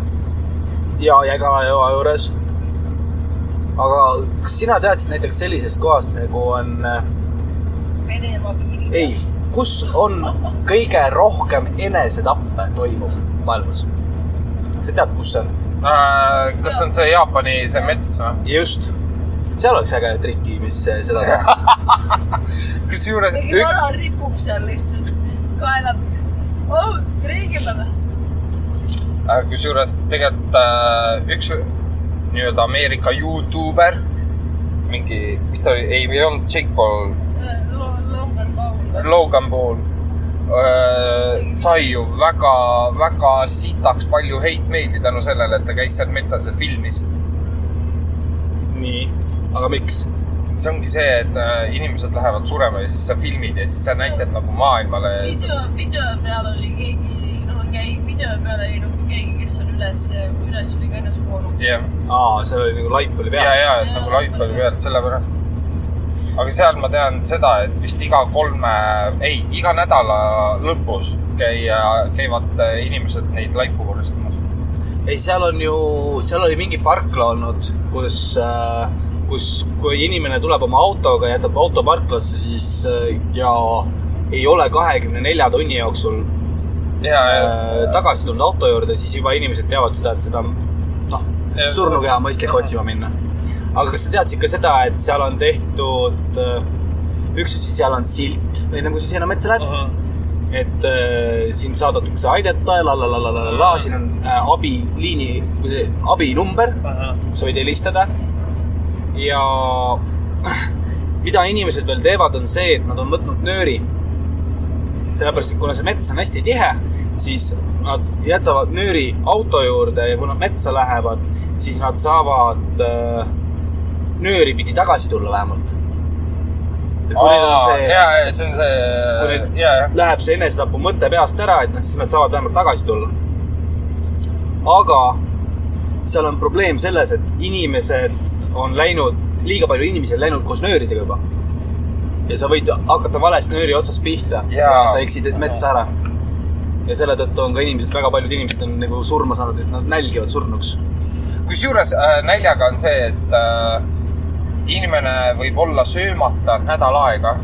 S2: ja Jägala jõe juures . aga kas sina teadsid näiteks sellisest kohast nagu on ,
S3: Venemaa piiril .
S2: ei , kus on kõige rohkem enesetappe toimub maailmas ? sa tead , kus see on ?
S1: Äh, kas see on see Jaapani see mets või ?
S2: just , seal oleks äge triki , mis äh, seda teha .
S1: kusjuures
S3: mingi
S1: ük-
S3: vana ripub seal lihtsalt kaelapidi . oh , triigime .
S1: Äh, kusjuures tegelikult äh, üks nii-öelda Ameerika Youtuber , mingi , mis ta oli , ei , ei olnud Jake Paul ,
S3: Logan Paul .
S1: Logan Paul äh, , sai ju väga-väga sitaks palju heitmeili tänu sellele , et ta käis seal metsas ja filmis .
S2: nii , aga miks ?
S1: see ongi see , et äh, inimesed lähevad surema ja siis sa filmid ja siis sa näitad nagu maailmale .
S3: video , video peal oli keegi , noh , jäi video peale jäi nagu keegi , kes on üles , üles oli ka ennast poonud .
S1: jah ,
S2: aa , seal oli nagu laip oli
S1: ja ,
S2: peal .
S1: ja , et nagu laip oli pealt , sellepärast . aga seal ma tean seda , et vist iga kolme , ei , iga nädala lõpus käia , käivad äh, inimesed neid laipu korrastamas .
S2: ei , seal on ju , seal oli mingi parkla olnud , kus äh, , kus , kui inimene tuleb oma autoga , jätab auto parklasse , siis äh, ja ei ole kahekümne nelja tunni jooksul
S1: ja ,
S2: äh, tagasi tulnud auto juurde , siis juba inimesed teavad seda , et seda , noh ,
S1: ja .
S2: surnukeha on mõistlik otsima minna . aga kas sa teadsid ka seda , et seal on tehtud , üks asi , seal on silt , enne kui sa sinna metsa lähed , et äh, sind saadetakse aidata ja la la la la la la la , siin on äh, abiliini , abinumber , sa võid helistada . ja mida inimesed veel teevad , on see , et nad on võtnud nööri . sellepärast , et kuna see mets on hästi tihe , siis nad jätavad nööri auto juurde ja kui nad metsa lähevad , siis nad saavad äh, nööri pidi tagasi tulla vähemalt . kui neil on see ,
S1: ja , ja see on see
S2: Kui nüüd- ,
S1: ja , ja .
S2: läheb see enesetapu mõte peast ära , et noh , siis nad saavad vähemalt tagasi tulla . aga seal on probleem selles , et inimesed on läinud , liiga palju inimesi on läinud koos nööridega juba . ja sa võid hakata valest nööri otsast pihta
S1: Jaa.
S2: sa eksid metsa ära . ja selle tõttu on ka inimesed , väga paljud inimesed on nagu surma saanud , et nad nälgivad surnuks .
S1: kusjuures äh, näljaga on see , et äh, inimene võib olla söömata nädal aega ,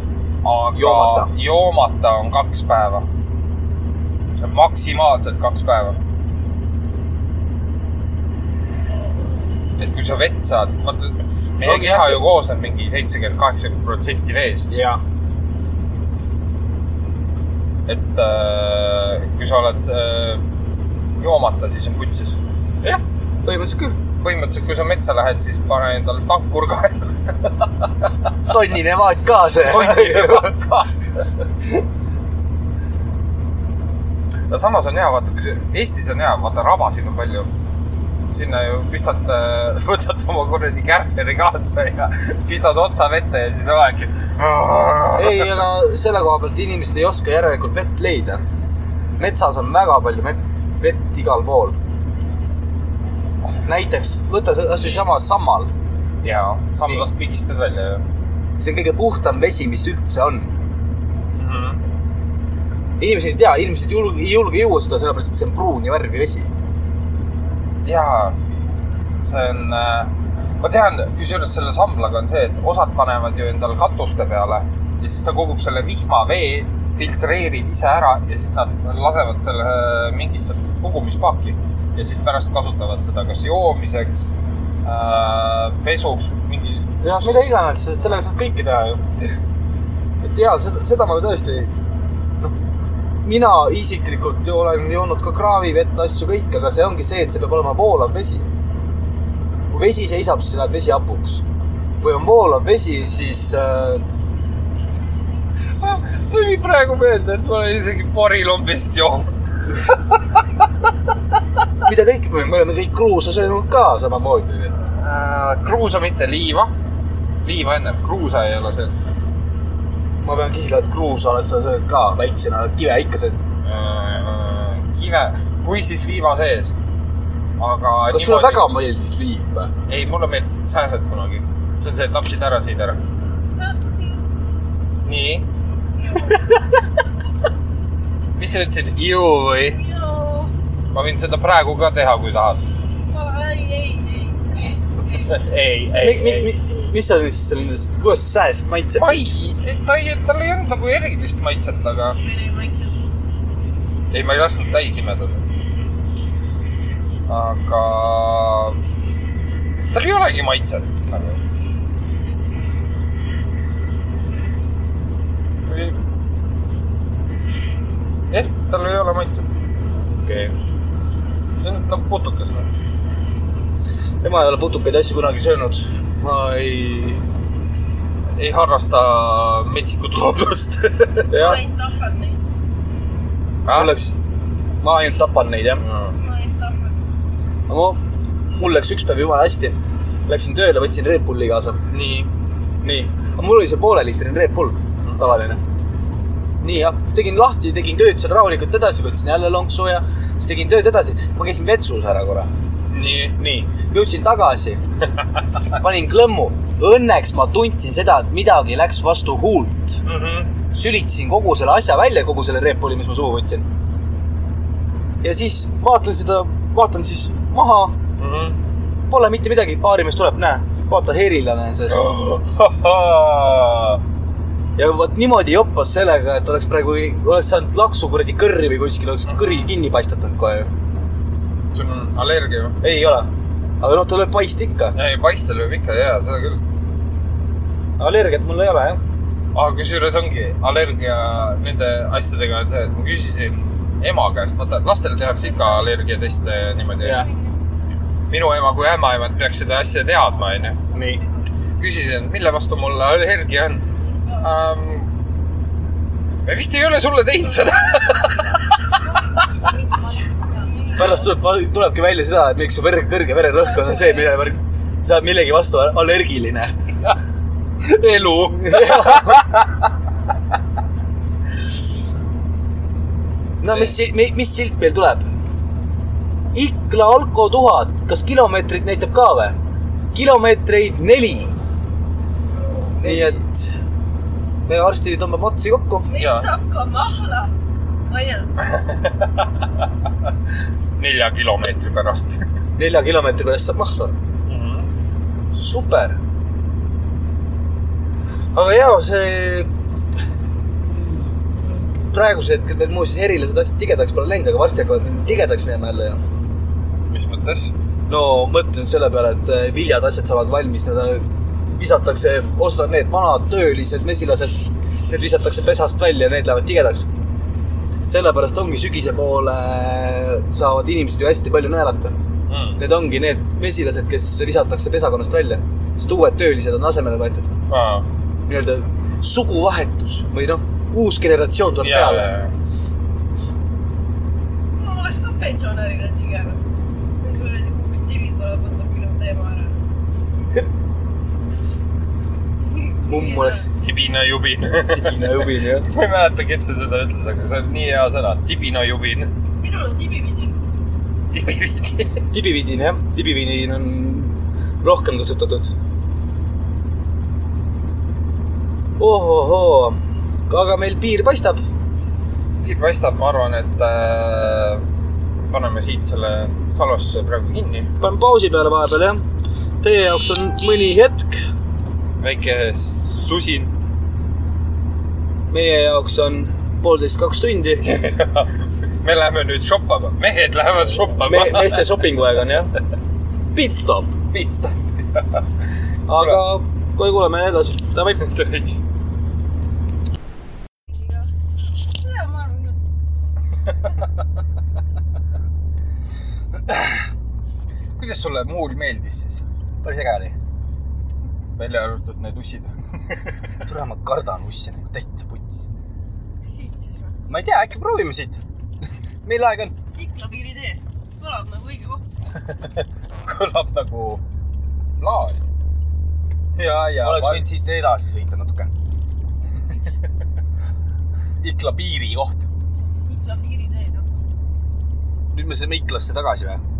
S1: aga
S2: Joomata.
S1: joomata on kaks päeva . maksimaalselt kaks päeva . et kui sa vett saad , vaata , meie
S2: Ongi
S1: keha
S2: jah.
S1: ju koosneb mingi seitsekümmend , kaheksakümmend protsenti veest .
S2: ja ,
S1: et äh, kui sa oled äh, joomata , siis on putsis .
S2: jah , põhimõtteliselt küll .
S1: põhimõtteliselt , kui sa metsa lähed , siis pane endale tankur kaela .
S2: tonnine vaat ka see .
S1: no samas on hea , vaata , kui see- Eestis on hea , vaata rabasid on palju . sinna ju pistad , võtad oma kuradi kärneri kaasa ja pistad otsa vette ja siis oledki .
S2: ei , aga selle koha pealt inimesed ei oska järelikult vett leida . metsas on väga palju met- , vett igal pool . näiteks võta see kasvõi sama sammal ,
S1: jaa , sammlast pigistad välja ju
S2: see on kõige puhtam vesi , mis üldse on .
S1: mm . -hmm.
S2: inimesed ei tea , inimesed ei julge , ei julge juua seda sellepärast , et see on pruuni värvi vesi .
S1: jaa , see on , ma tean , kusjuures selle samblaga on see , et osad panevad ju endal katuste peale ja siis ta kogub selle vihmavee , filtreerib ise ära ja siis nad lasevad selle äh, mingisse kogumispaaki ja siis pärast kasutavad seda kas joomiseks äh, , pesuks , mingi .
S2: jah , mida iganes , sellega saad kõike teha ju . et ja seda , seda ma tõesti , noh , mina isiklikult ju olen joonud ka kraavivett , asju kõik , aga see ongi see , et see peab olema voolav vesi . kui vesi seisab , siis läheb vesi hapuks . kui on voolav vesi , siis äh,
S1: tuli praegu meelde , et ma olen isegi porilombist joonud .
S2: mida kõik , me oleme kõik kruusa söönud ka samamoodi .
S1: Äh, kruusa , mitte liiva . liiva ennem , kruusa ei ole söönud .
S2: ma pean küsima , et kruusa oled sa söönud ka väiksena , kive ikka söönud .
S1: Äh, kive , kui siis liiva sees . aga .
S2: kas sulle väga ? meeldis liiv või ?
S1: ei , mulle meeldisid sääsed kunagi . see on see , et tapsid ära , sõid ära . nii . mis sa ütlesid , ju või ?
S3: joo ,
S1: ma võin seda praegu ka teha , kui tahad .
S3: ei , ei , ei , ei .
S1: ei ,
S2: mi, mi,
S1: ei , ei .
S2: mi, mis sa siis sellest , kuidas see sääsk maitseb ?
S1: ma ei , ta ei , tal ei olnud nagu erilist maitset , aga
S3: meil ei maitse .
S1: ei , ma ei lasknud täis imedada . aga tal ei olegi maitset nagu . jah , tal ei ole maitset ,
S2: okei okay. .
S1: see on nagu putukas või ?
S2: tema ei ole putukaid asju kunagi söönud . ma ei .
S1: ei harrasta metsikut loodust .
S3: ma
S2: jah ,
S3: ainult tahan neid ,
S2: mul läks , ma ainult tapan neid jah .
S3: ma ainult tahan .
S2: mul läks üks päev jumala hästi . Läksin tööle , võtsin Red Bulli kaasa .
S1: nii ,
S2: nii , mul oli see pooleliitrine Red Bull , tavaline . nii , tegin lahti , tegin tööd seal rahulikult edasi , võtsin jälle lonksu ja siis tegin tööd edasi . ma käisin vetsus ära korra .
S1: nii .
S2: nii , jõudsin tagasi , panin klõmmu . Õnneks ma tundsin seda , et midagi läks vastu huult . sülitasin kogu selle asja välja , kogu selle repoli , mis ma suhu võtsin . ja siis vaatan seda , vaatan siis maha , pole mitte midagi , baarimees tuleb , näe , vaata , herilane on sees . ja vot niimoodi joppas sellega , et oleks praegu , oleks saanud laksu kuradi kõrri või kuskil oleks kõri kinni paistatanud kohe ju .
S1: sul on allergia või ?
S2: ei ole . aga noh , ta lööb paist ikka .
S1: ei , paista lööb ikka jaa , seda küll .
S2: allergiat mul ei ole jah .
S1: aga Ah, kusjuures ongi allergia nende asjadega on see , et ma küsisin ema käest , vaata lastel tehakse ikka allergiateste ja niimoodi .
S2: jah ,
S1: minu ema kui ämmaemand peaks seda asja teadma , onju .
S2: nii .
S1: küsisin , mille vastu mul allergia on um, . me vist ei ole sulle teinud seda .
S2: pärast tuleb , tulebki välja seda , et miks su ver- , kõrge vererõhk on see , mille , sa oled millegi vastu allergiline .
S1: elu .
S2: no mis , mis silt meil tuleb ? Ikla Alko tuhat , kas kilomeetrit näitab ka või ? kilomeetreid neli . nii et me varsti tõmbame otsi kokku .
S1: Jaa.
S3: nüüd saab ka mahla . onju ,
S1: nelja kilomeetri pärast .
S2: nelja kilomeetri pärast saab mahla . Mhm. super . aga jaa , see praegusel hetkel veel muuseas erilised asjad tigedaks pole läinud , aga varsti hakkavad need tigedaks minema jälle ja
S1: mis mõttes ?
S2: no mõtlen selle peale , et eh, viljad , asjad saavad valmis , need äh, visatakse , osta need vanad töölised mesilased , need visatakse pesast välja , need lähevad tigedaks . sellepärast ongi sügise poole äh, saavad inimesed ju hästi palju naerata . Need ongi need mesilased , kes visatakse pesakonnast välja , sest uued töölised on asemele võetud . nii-öelda suguvahetus või noh , uus generatsioon tuleb
S1: ja ,
S2: peale .
S3: ma oleks ka pensionärina tigem . nüüd kui veel üks tivi tuleb , võtab minu teema ära .
S2: mumm oleks
S1: tibinajubin .
S2: tigine ja hõbine jah .
S1: ma ei mäleta , kes see seda ütles , aga see on nii hea sõna , tibinajubin .
S3: minul on tibipidi .
S1: tibividi .
S2: tibividin jah , tibividin on rohkem kasutatud . ohohoo , aga meil piir paistab ,
S1: piir paistab , ma arvan , et äh, paneme siit selle salvestuse praegu kinni .
S2: paneme pausi peale vahepeal jah . Teie jaoks on mõni hetk ,
S1: väike susin .
S2: meie jaoks on poolteist , kaks tundi .
S1: me läheme nüüd shoppama , mehed lähevad shoppama
S2: me ,. meeste shopping aeg on jah . Pit stop ,
S1: pitsta .
S2: aga kohe kuuleme edasi , davai .
S3: ja ma arvan küll .
S1: kuidas sulle muul meeldis siis ,
S2: päris äge oli .
S1: välja arvatud need ussid ?
S2: tule , ma kardan ussi , täitsa puts .
S3: siit siis või ?
S2: ma ei tea , äkki proovime siit . meil aega on .
S3: Ikla piiri tee . kõlab nagu õige koht .
S1: kõlab nagu plaan . ja , ja .
S2: oleks võinud siit edasi sõita natuke . Ikla piiri koht .
S3: Ikla piiri tee , noh .
S2: nüüd me sõidame Iklasse tagasi või ?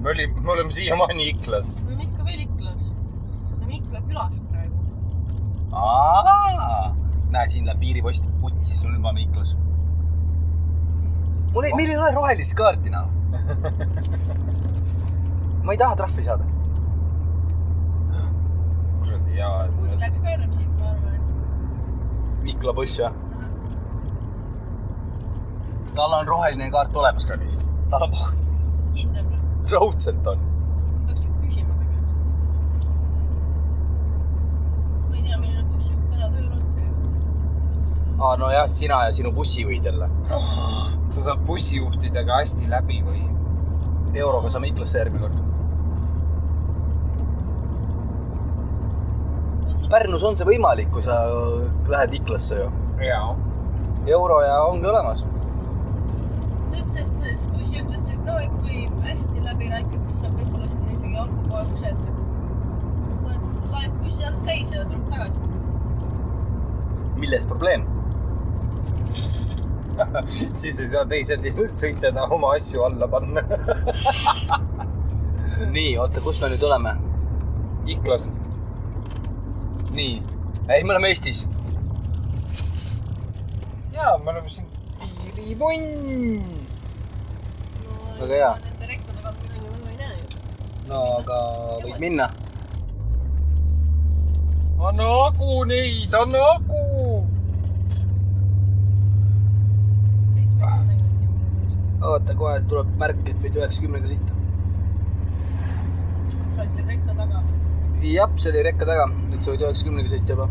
S1: me olime , me oleme siiamaani Iklas .
S3: me oleme ikka veel Iklas . me oleme Ikla külas praegu .
S2: näe , siin läheb piiripost putsi , sul juba on Iklas . mul ei , meil ei ole rohelist kaarti enam . ma ei taha trahvi saada .
S1: kuradi jaa .
S3: kus läks ka ennem siit , ma arvan , et .
S2: Ikla buss või ? tal on roheline kaart olemas , kallis . tal on ,
S3: kindel või ?
S2: raudselt on .
S3: peaks ju küsima ta käest . ma ei tea , milline buss jõuab täna tööle otsa .
S2: aa , nojah , sina ja sinu bussijuhid jälle .
S1: sa saad bussijuhtidega hästi läbi või ?
S2: euroga saame Iklasse järgmine kord . Pärnus on see võimalik , kui sa lähed Iklasse ju .
S1: jaa .
S2: euro ja ongi olemas .
S3: ta ütles , et see bussijuht ütles , et noh , et kui hästi läbi rääkida , siis saab võib-olla sinna isegi alkopoe ukse ette . laeb buss sealt täis ja tuleb tagasi .
S2: milles probleem ?
S1: siis ei saa teised sõitjad oma asju alla panna .
S2: nii , oota , kus me nüüd oleme ?
S1: Iklas .
S2: nii , ei , me oleme Eestis .
S1: jaa , me oleme siin piiripunn .
S2: Väga hea.
S3: Nende rekkade pealt midagi mõju ei näe ju .
S2: no aga võid minna .
S1: anna agu neid , anna agu .
S3: seitsmekümnega on siin minu meelest .
S2: oota , kohe tuleb märk , et võid üheksakümnega sõita .
S3: sa oled veel rekka taga .
S2: jah , see oli rekka taga , nüüd sa võid üheksakümnega sõita juba .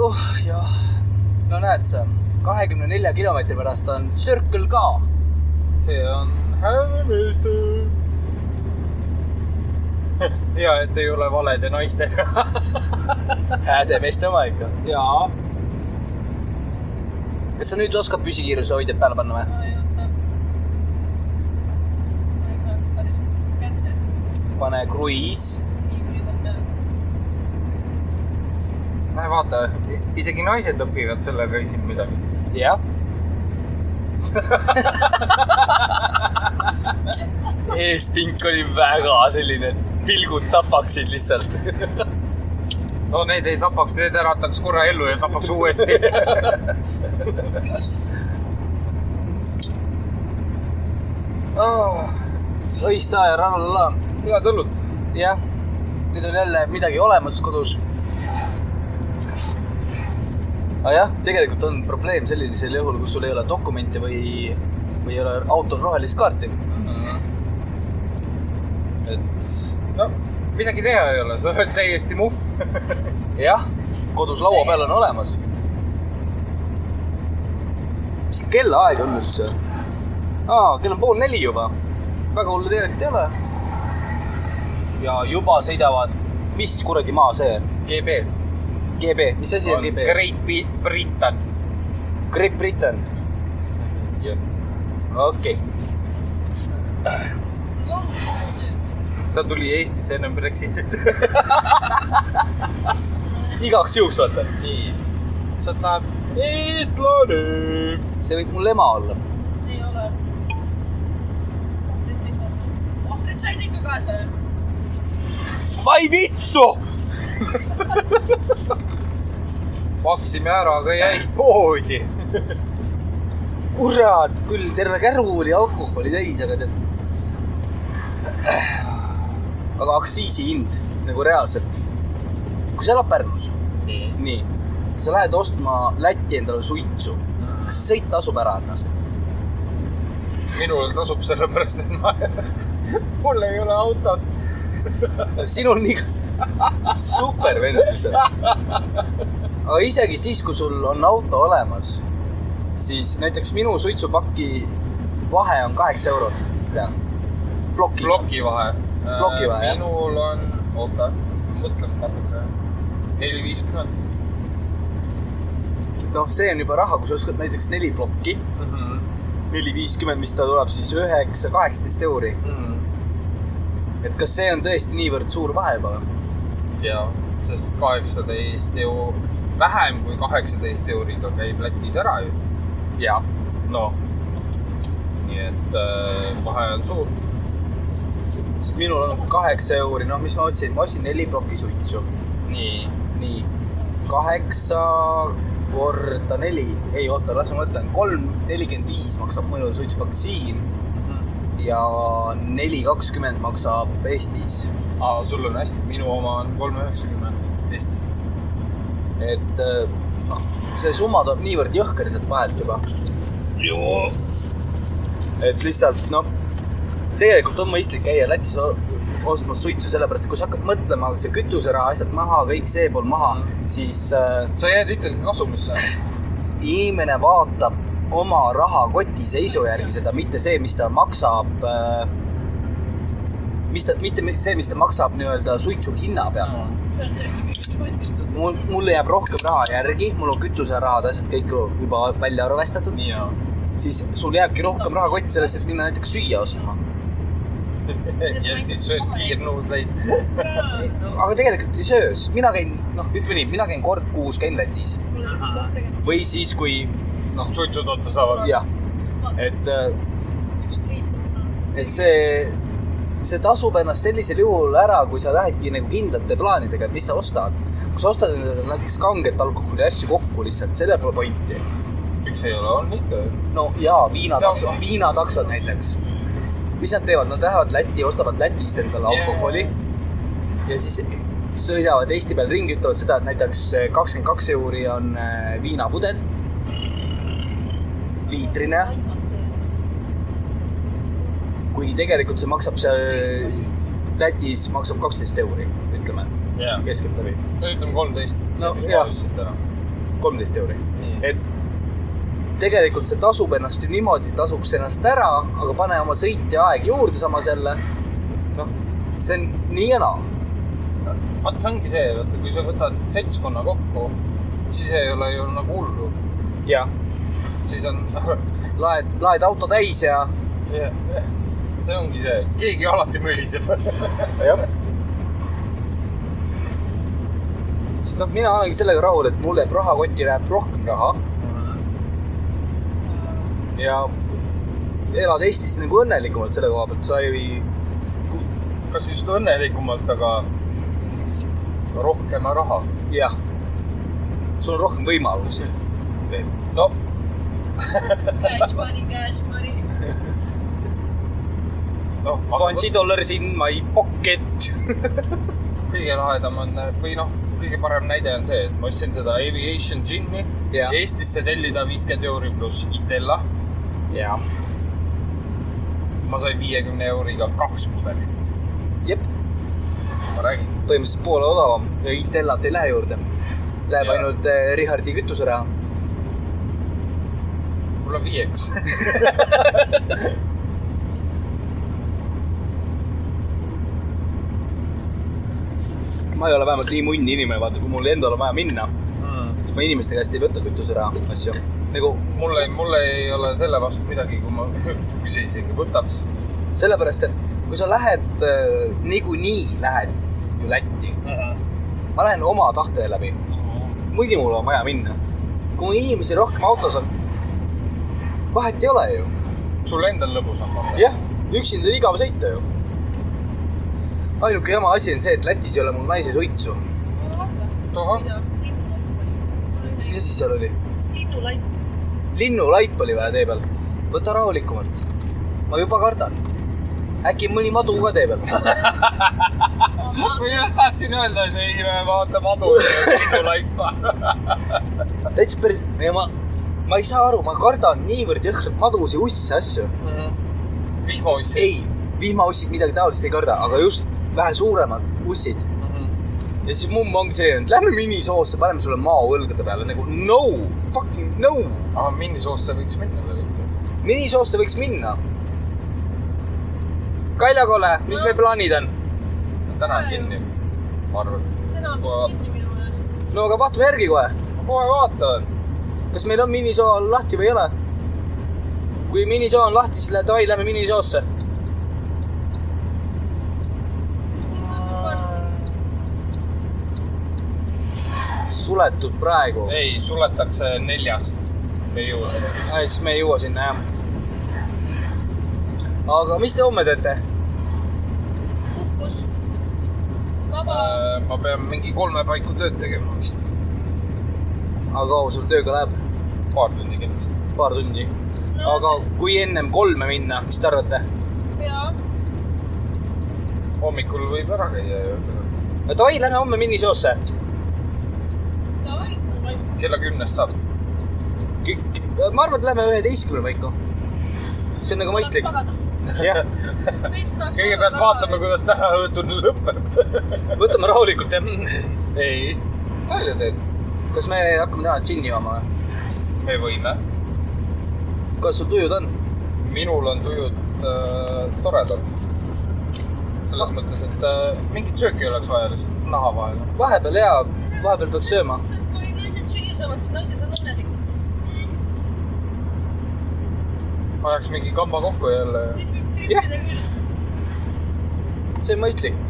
S2: oh jah , no näed sa , kahekümne nelja kilomeetri pärast on Circle K .
S1: see on Hämmestu . hea , et ei ole valede naistega .
S2: häädemeeste oma ikka .
S1: jaa .
S2: kas sa nüüd oskad püsikiiruse hoidjad peale panna või ?
S3: aa , ei oota . ma ei saanud päris kätte .
S2: pane kruiis ,
S3: nii , nüüd on peal .
S1: näe vaata , isegi naised õpivad sellel reisil midagi .
S2: jah . eespink oli väga selline , et pilgud tapaksid lihtsalt .
S1: no need ei tapaks , need ärataks korra ellu ja tapaks uuesti .
S3: just ,
S2: õissa ja rallala ,
S1: Ah, head õlut .
S2: jah . nüüd on jälle midagi olemas kodus . aga jah , tegelikult on probleem sellisel juhul , kui sul ei ole dokumente või , või ei ole autol rohelist kaarti . et
S1: no midagi teha ei ole , sa oled täiesti muhv .
S2: jah , kodus laua peal on olemas . mis kellaaeg on üldse ? aa , kell on pool neli juba . väga hullu tegelikult ei ole . ja juba sõidavad , mis kuradi maa see on ?
S1: GB .
S2: GB , mis asi on GB ?
S1: Great Bi- Britain .
S2: Great Britain , okei okay. .
S3: loomulikult töö .
S1: ta tuli Eestisse ennem Brexitit .
S2: igaks juhuks vaata .
S1: nii . sealt läheb
S2: eestlane . see võib mul ema olla .
S3: ei ole . ohvrid said ikka kaasa .
S2: vai vittu ,
S1: maksime ära , aga jäi poodi .
S2: kurat , küll terve käru oli alkoholi täis , aga tead . aga aktsiisi hind nagu reaalselt . kui sa elad Pärnus , nii , sa lähed ostma Lätti endale suitsu , kas see sõit tasub ära ennast ?
S1: minul tasub sellepärast , et ma , mul ei ole autot .
S2: sinul nii , super vend lihtsalt . aga isegi siis , kui sul on auto olemas , siis näiteks minu suitsupaki vahe on kaheksa eurot , tea . ploki .
S1: ploki vahe .
S2: Ploki vahe, jah.
S1: minul on , oota , mõtleme natuke . neli viiskümmend .
S2: noh , see on juba raha , kui sa oskad näiteks neli plokki , neli viiskümmend , mis ta tuleb siis üheksa , kaheksateist euri . et kas see on tõesti niivõrd suur vahe juba või ?
S1: ja , sest kaheksateist ju , vähem kui kaheksateist euriga käib Lätis ära ju .
S2: jaa .
S1: noh . nii et äh, vahe on suur .
S2: sest minul on nagu kaheksa euri , noh , mis ma otsin , ma ostsin neli plokki suitsu .
S1: nii .
S2: nii , kaheksa korda neli , ei oota , las ma mõtlen , kolm nelikümmend viis maksab minu suitsupakk siin ja neli kakskümmend maksab Eestis .
S1: aa , sul on hästi , minu oma on kolm üheksakümmend Eestis .
S2: et eh, noh , see summa tuleb niivõrd jõhkerselt vahelt juba . et lihtsalt noh , tegelikult on mõistlik käia Lätis o- ostmas suitsu , sellepärast et kui sa hakkad mõtlema , see kütuseraha , asjad maha , kõik see pool maha , siis äh,
S1: sa jääd ikkagi kasumisse .
S2: inimene vaatab oma rahakoti seisu järgi seda , mitte see , mis ta maksab äh, , mis ta , mitte see , mis ta maksab nii-öelda suitsu hinna pealt . mul , mul jääb rohkem raha järgi , mul on kütuserahad , asjad kõik ju juba välja arvestatud ,
S1: nii on .
S2: siis sul jääbki rohkem rahakotti selleks , et minna näiteks süüa ostma .
S1: ja siis sööd kiirnõudleid .
S2: aga tegelikult ei söö , sest mina käin , noh , ütleme nii , mina käin kord kuus käin Lätis
S4: mul on üks koht tegema .
S2: või siis , kui noh ,
S1: suitsud otsa saavad .
S2: jah , et ,
S1: äh,
S3: üks triip on .
S2: et see , see tasub ennast sellisel juhul ära , kui sa lähedki nagu kindlate plaanidega , et mis sa ostad . kui sa ostad endale näiteks kanget alkoholi ja asju kokku lihtsalt , sellel pole pointi .
S1: miks ei ole , on ikka ju .
S2: no jaa , viinataksod , viinataksod näiteks . mis nad teevad , nad lähevad Lätti , ostavad Lätist endale
S1: Jaa.
S2: alkoholi ja siis sõidavad Eesti peal ringi , ütlevad seda , et näiteks kakskümmend kaks euri on äh, viinapudel . liitrine , kuigi tegelikult see maksab seal Lätis maksab kaksteist euri , ütleme
S1: jah .
S2: keskeltläbi ,
S1: no ütleme kolmteist .
S2: No,
S1: mis
S2: jah.
S1: ma ostsin täna .
S2: kolmteist euri . et tegelikult see tasub ennast ju niimoodi , tasuks ennast ära , aga pane oma sõitja aeg juurde samas jälle . noh , see on nii ja naa .
S1: vaata , see ongi see , vaata , kui sa võtad seltskonna kokku , siis ei ole ju nagu hullu .
S2: jah .
S1: siis on ,
S2: laed , laed auto täis ja .
S1: see ongi see , et keegi alati möliseb .
S2: jah . sest noh , mina olengi sellega rahul , et mul jääb rahakotti , läheb rohkem raha . ja elad Eestis nagu õnnelikumalt selle koha pealt , sa ei ,
S1: kas just õnnelikumalt , aga rohkem raha
S2: jah , sul on rohkem võimalusi .
S1: veel . no
S3: Cash money , cash money .
S1: noh ,
S2: pandi dollar in my pocket .
S1: kõige lahedam on või noh , kõige parem näide on see , et ma ostsin seda Aviation Gin'i
S2: Jah.
S1: Eestisse tellida viiskümmend euri pluss Itella .
S2: jah ,
S1: ma sain viiekümne euriga kaks pudelit ,
S2: jep ,
S1: ma räägin .
S2: põhimõtteliselt poole odavam ja Itellat ei lähe juurde . Läheb
S1: Jaa.
S2: ainult eh, Richardi kütuseraha .
S1: mul on viieks .
S2: ma ei ole vähemalt nii munni inimene , vaata , kui mul endal on vaja minna ,
S1: Mm.
S2: siis ma inimeste käest ei võta kütuseraha asju . nagu
S1: mul ei , mul ei ole selle vastu midagi , kui ma üksi isegi võtaks .
S2: sellepärast , et kui sa lähed , niikuinii lähed ju Lätti ,
S1: Mm-hmm.
S2: ma lähen oma tahte läbi , muidu mul on vaja minna . kui inimesi rohkem autos on , vahet ei ole ju .
S1: sul endal lõbus on .
S2: jah , üksinda on igav sõita ju . ainuke jama asi on see , et Lätis ei ole mul naise suitsu .
S1: tohoh ,
S2: mis asi seal oli ?
S4: linnulaip .
S2: linnulaip oli vaja tee peal . võta rahulikumalt . ma juba kardan . äkki mõni madu ka tee peal .
S1: ma just tahtsin öelda , et ei , vaata madu , sinu laipa .
S2: täitsa päris , ma , ma ei saa aru , ma kardan niivõrd jõhkralt madusid , usse , asju .
S1: Mm-hmm. vihmaussi .
S2: ei , vihmaussid midagi taolist ei karda , aga just vähe suuremad ussid .
S1: Mm-hmm.
S2: ja siis mumm ongi selline , et lähme minisoosse , paneme sulle mao õlgade peale nagu no , fucking no .
S1: aa , minisoosse võiks minna tegelikult .
S2: minisoosse võiks minna . Kaljakole , mis no.
S3: No.
S2: meie plaanid on ?
S1: täna on kinni , ma arvan .
S3: täna on vist kinni minu meelest .
S2: no aga vaatame järgi kohe ,
S1: ma kohe vaatan .
S2: kas meil on minisoo lahti või ei ole . kui minisoo on lahti , siis lähe- davai , lähme minisoosse . suletud praegu .
S1: ei , suletakse neljast . me ei jõua sinna .
S2: Ai, siis me ei jõua sinna jah . aga mis te homme teete ?
S3: puhkus . vaba .
S1: Äh, ma pean mingi kolme paiku tööd tegema vist .
S2: aga kaua sul tööga läheb ?
S1: paar tundi kindlasti .
S2: paar tundi . aga kui ennem kolme minna , mis te arvate ?
S3: jaa ,
S1: hommikul võib ära käia ju .
S2: Davai , lähme homme minisoosse .
S3: davai .
S1: kella kümnest saab .
S2: ma arvan , et lähme üheteistkümne paiku . see on nagu mõistlik . jah ,
S3: veits tahaks .
S1: kõigepealt vaatame ,. kuidas täna õhtuni lõpeb .
S2: võtame rahulikult jah .
S1: ei , nalja teed .
S2: kas me hakkame täna džinni jooma või ?
S1: me võime .
S2: kas sul tujud on ?
S1: minul on tujud äh, toredad . selles mõttes , et äh, mingit sööki ei oleks vaja lihtsalt naha vahele .
S2: vahepeal hea , vahepeal pead sööma .
S3: kui naised süüa saavad , siis naised on õnnelikud .
S1: ajaks mingi kamba kokku jälle .
S3: siis võib trippida küll .
S2: see on mõistlik .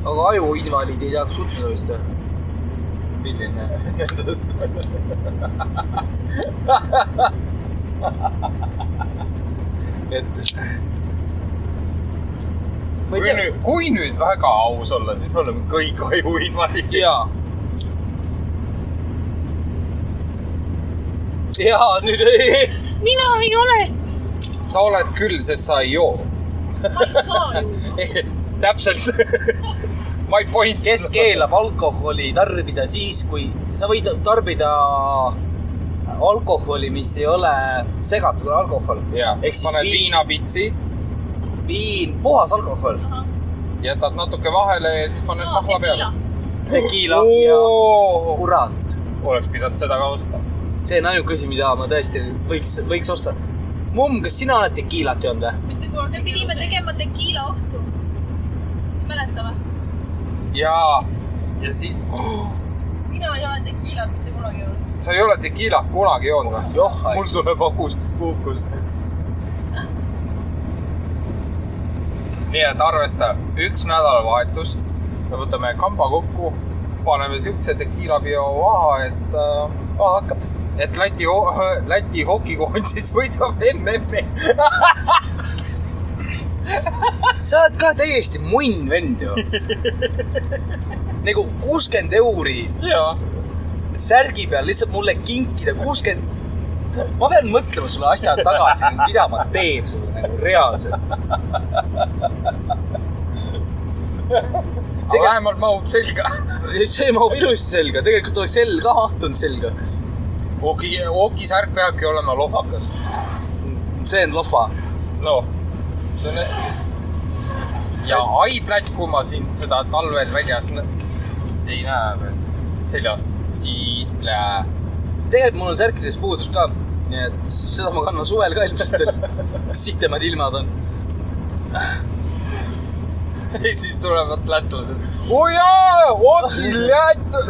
S2: aga ajuinvaliid ei tahaks kutsuda vist või ?
S1: milline nendest ?
S2: et . ma
S1: kui
S2: ei tea .
S1: nüüd , kui nüüd väga aus olla , siis me oleme kõik ajuinvaliidid .
S2: jaa . jaa , nüüd ei .
S4: mina ei ole .
S1: sa oled küll , sest sa ei joo .
S4: ma ei saa ju .
S1: täpselt . My point .
S2: kes ? keelab alkoholi tarbida siis , kui sa võid tarbida alkoholi , mis ei ole segatud alkohol .
S1: jah ,
S2: Ehk siis
S1: paned
S2: viin-
S1: viinapitsi ,
S2: viin , puhas alkohol ,
S1: jätad natuke vahele ja siis paned mahla peale .
S2: tekiila ja
S1: oleks
S2: kurat .
S1: pidanud seda ka ostma .
S2: see on ainuke asi , mida ma tõesti võiks , võiks osta . mumm , kas sina oled tekiilat joonud või ?
S3: mitte kordagi .
S4: me pidime tegema . tekiila ohtu . mäleta või ?
S1: ja , ja Oh! siis ,
S3: mina ei ole tekiilat mitte kunagi joonud .
S1: sa ei ole tekiilat kunagi joonud või ?
S2: joh ,
S1: mul tuleb augustis puhkust . nii et arvesta , üks nädalavahetus , me võtame kamba kokku , paneme siukse tekiila peo maha , et äh, ,
S2: aa , hakkab .
S1: et Läti , Läti hokikoondis võidab MM-i .
S2: sa oled ka täiesti munn vend ju . nagu kuuskümmend euri
S1: jaa ,
S2: särgi peal lihtsalt mulle kinkida kuuskümmend . ma pean mõtlema sulle asja tagasi , mida ma teen sulle nagu reaalselt .
S1: aga vähemalt mahub selga .
S2: see mahub ilusti selga , tegelikult oleks sell ka mahtunud selga .
S1: hoki , hokisärk peabki olema lohvakas .
S2: see on lofa .
S1: noh , see on hästi . ja ai plätku ma sind seda talvel väljas nä- ei näe veel seljas , siis plää .
S2: tegelikult mul on särkides puudus ka , nii et seda ma kannan suvel ka ilmselt veel . sitemad ilmad on .
S1: siis tulevad lätlased . oo jaa , hoki ,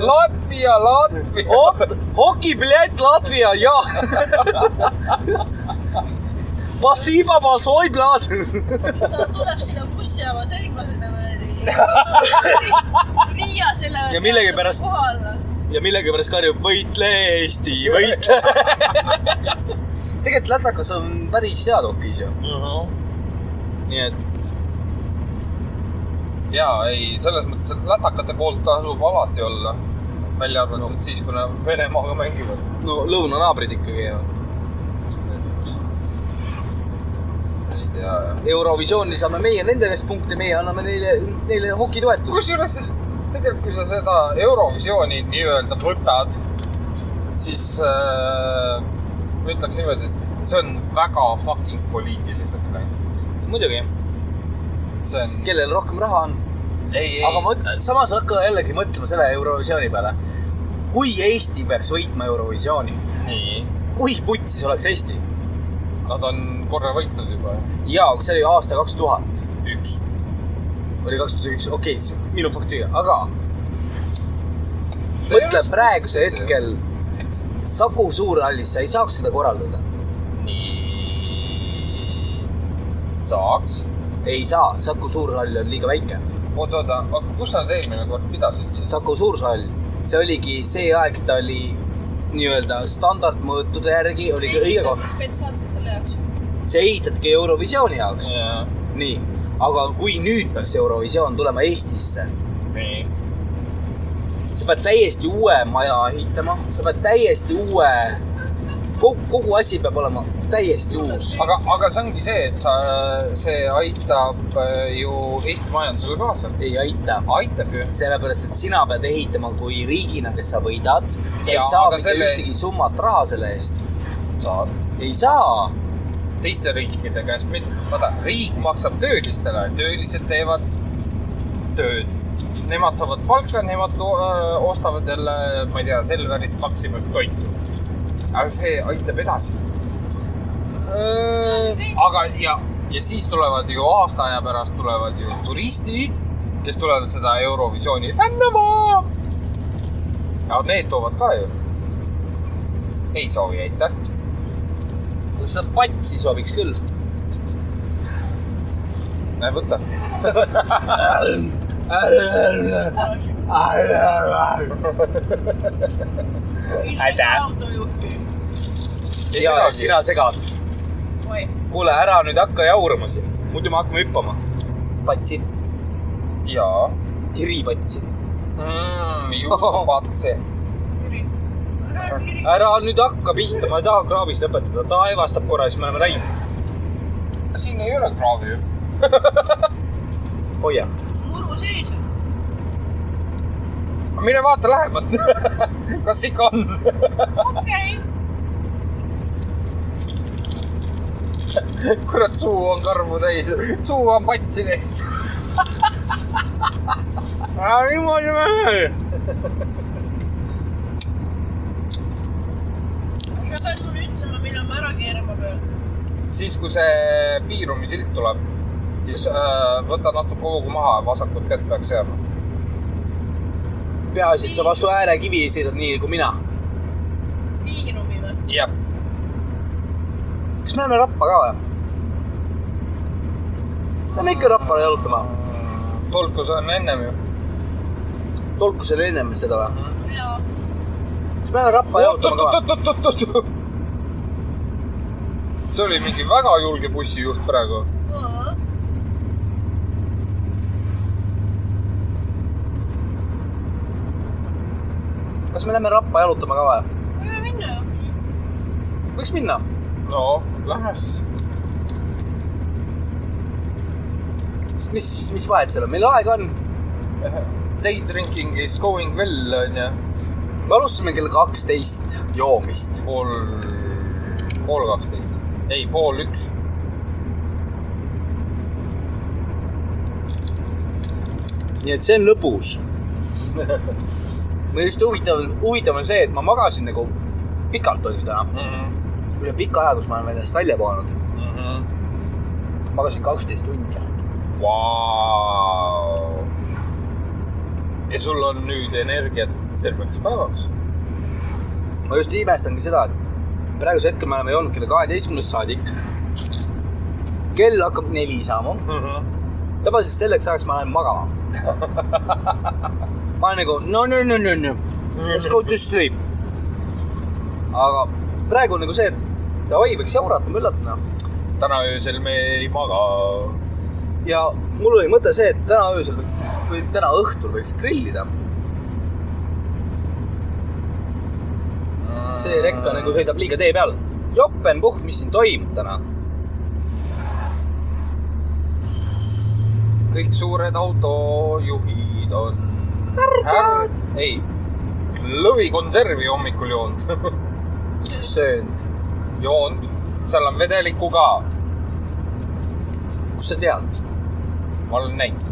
S1: Latvia ,
S2: Oh?
S1: Latvia .
S2: hokipilet Latvia ja . Pasiba balsoiblad .
S3: ta tuleb sinna bussijaama seisma , siis nagu niimoodi Riia selle .
S2: Ja millegipärast-
S3: kohal .
S2: ja millegipärast karjub võitle Eesti , võitle . tegelikult lätlakas on päris head hokis ju , nii et
S1: ja ei , selles mõttes , et lätakate poolt tasub alati olla . välja arvatud no. siis , kui nad Venemaaga mängivad .
S2: no lõunanaabrid ikkagi ju . et
S1: ei tea jah .
S2: Eurovisiooni saame meie nende käest punkte , meie anname neile , neile hokitoetust .
S1: kusjuures tegelikult , kui sa seda Eurovisiooni nii-öelda võtad , siis äh, ma ütleks niimoodi , et see on väga fucking poliitiliseks läinud .
S2: muidugi ,
S1: see on ,
S2: kellel rohkem raha on .
S1: ei ,
S2: aga
S1: ei ,
S2: mõt- , samas hakka jällegi mõtlema selle Eurovisiooni peale . kui Eesti peaks võitma Eurovisiooni ,
S1: nii .
S2: kui putsis oleks Eesti ?
S1: Nad on korra võitnud juba ,
S2: jaa , see oli aasta kaks tuhat
S1: üks .
S2: oli kaks tuhat üks , okei okay, , minu fakt tühja , aga mõtle praegusel hetkel , Saku Suurhallis sa ei saaks seda korraldada .
S1: nii . saaks .
S2: ei saa , Saku Suurhall on liiga väike .
S1: oota , oota , aga kus nad eelmine kord pidasid siis ?
S2: Saku Suurhall , see oligi see aeg , ta oli nii-öelda standardmõõtude järgi oli ka õige koht .
S4: spetsiaalselt selle jaoks .
S2: see ehitatigi Eurovisiooni jaoks , nii . aga kui nüüd peaks Eurovisioon tulema Eestisse ,
S1: nii .
S2: sa pead täiesti uue maja ehitama , sa pead täiesti uue , kogu , kogu asi peab olema täiesti uus .
S1: aga , aga see ongi see , et sa , see aitab äh, ju Eesti majandusele kaasa .
S2: ei aita
S1: aitab ju .
S2: sellepärast , et sina pead ehitama kui riigina , kes sa võidad , sa ei
S1: Jaa,
S2: saa
S1: aga
S2: mitte
S1: selle-
S2: ühtegi summat raha selle eest .
S1: saad .
S2: ei saa ,
S1: teiste riikide käest mitte . vaata , riik maksab töölistele , töölised teevad tööd . Nemad saavad palka , nemad to- öö, ostavad jälle , ma ei tea , Selverist Maximast toitu . aga see aitab edasi . aga ja , ja siis tulevad ju aasta aja pärast tulevad ju turistid , kes tulevad seda Eurovisiooni fännama . aga need toovad ka ju . ei soovi , aitäh .
S2: seda patsi sobiks küll .
S1: näe , võta
S2: Aitäh.
S3: autojuhti .
S1: Ei
S2: ja
S1: segagi.
S2: sina segad .
S3: oi ,
S2: kuule , ära nüüd hakka jaurama siin , muidu me hakkame hüppama . patsi ,
S1: jaa
S2: tiripatsi .
S1: mm, . juustupatse .
S3: Jüri .
S2: ära nüüd hakka pihta , ma ei taha kraavis lõpetada , ta aevastab korra , siis me oleme läinud .
S1: siin ei ole kraavi ju .
S2: hoia .
S3: muru sees on .
S1: mine vaata lähemalt . kas ikka on ?
S3: okei ,
S1: kurat , suu on karvu täis , suu on patsi täis .
S2: ära niimoodi mene .
S3: sa pead mulle ütlema , millal ma ära keerama pean .
S1: siis , kui see piirumisilk tuleb , siis äh, võta natuke hoogu maha , vasakut kätt peaks jääma .
S2: peaasi , et sa vastu äärekivi sõidad nii nagu mina .
S3: piirumi või ?
S1: jah ,
S2: kas me läheme Rappa ka või ? Lähme ikka Rappale jalutama .
S1: Mm, tolkus on ennem ju .
S2: tolku seal ennem seda või ?
S5: jaa ,
S2: kas me läheme rappa jalutama ka või ?
S1: oot-oot-oot-oot-oot-oot . see oli mingi väga julge bussijuht praegu .
S2: kas me lähme rappa jalutama ka või ?
S5: võime minna ju .
S2: võiks minna .
S1: no lähme siis .
S2: sest mis , mis vahet seal on , meil aega on .
S1: Day drinking is going well onju .
S2: me alustame kell kaksteist joomist .
S1: pool , pool kaksteist . ei , pool üks .
S2: nii et see on lõbus . või just huvitav , huvitav on see , et ma magasin nagu pikalt on ju täna , üle pika aja , kus ma olen ennast välja puhanud . mhm. magasin kaksteist tundi .
S1: Vau . ja sul on nüüd energiat terveks päevaks .
S2: ma just imestangi seda , et praegusel hetkel me oleme joonud kella kaheteistkümnest saadik . kell hakkab neli saama , Mhm. tavaliselt selleks ajaks ma lähen magama . ma olen nagu no , no , no , no , no , let's go to sleep . aga praegu on nagu see , et davai , võiks jaurata , möllata
S1: täna öösel me ei maga .
S2: ja mul oli mõte see , et täna öösel võiks või täna õhtul võiks grillida . see rekka nagu . sõidab liiga tee peal . jopenpuhk , mis siin toimub täna .
S1: kõik suured autojuhid on .
S2: Märgad!
S1: ei , lõvikonservi hommikul joonud .
S2: söönud .
S1: joonud , seal on vedelikku ka ,
S2: kust sa tead ?
S1: ma olen näinud ,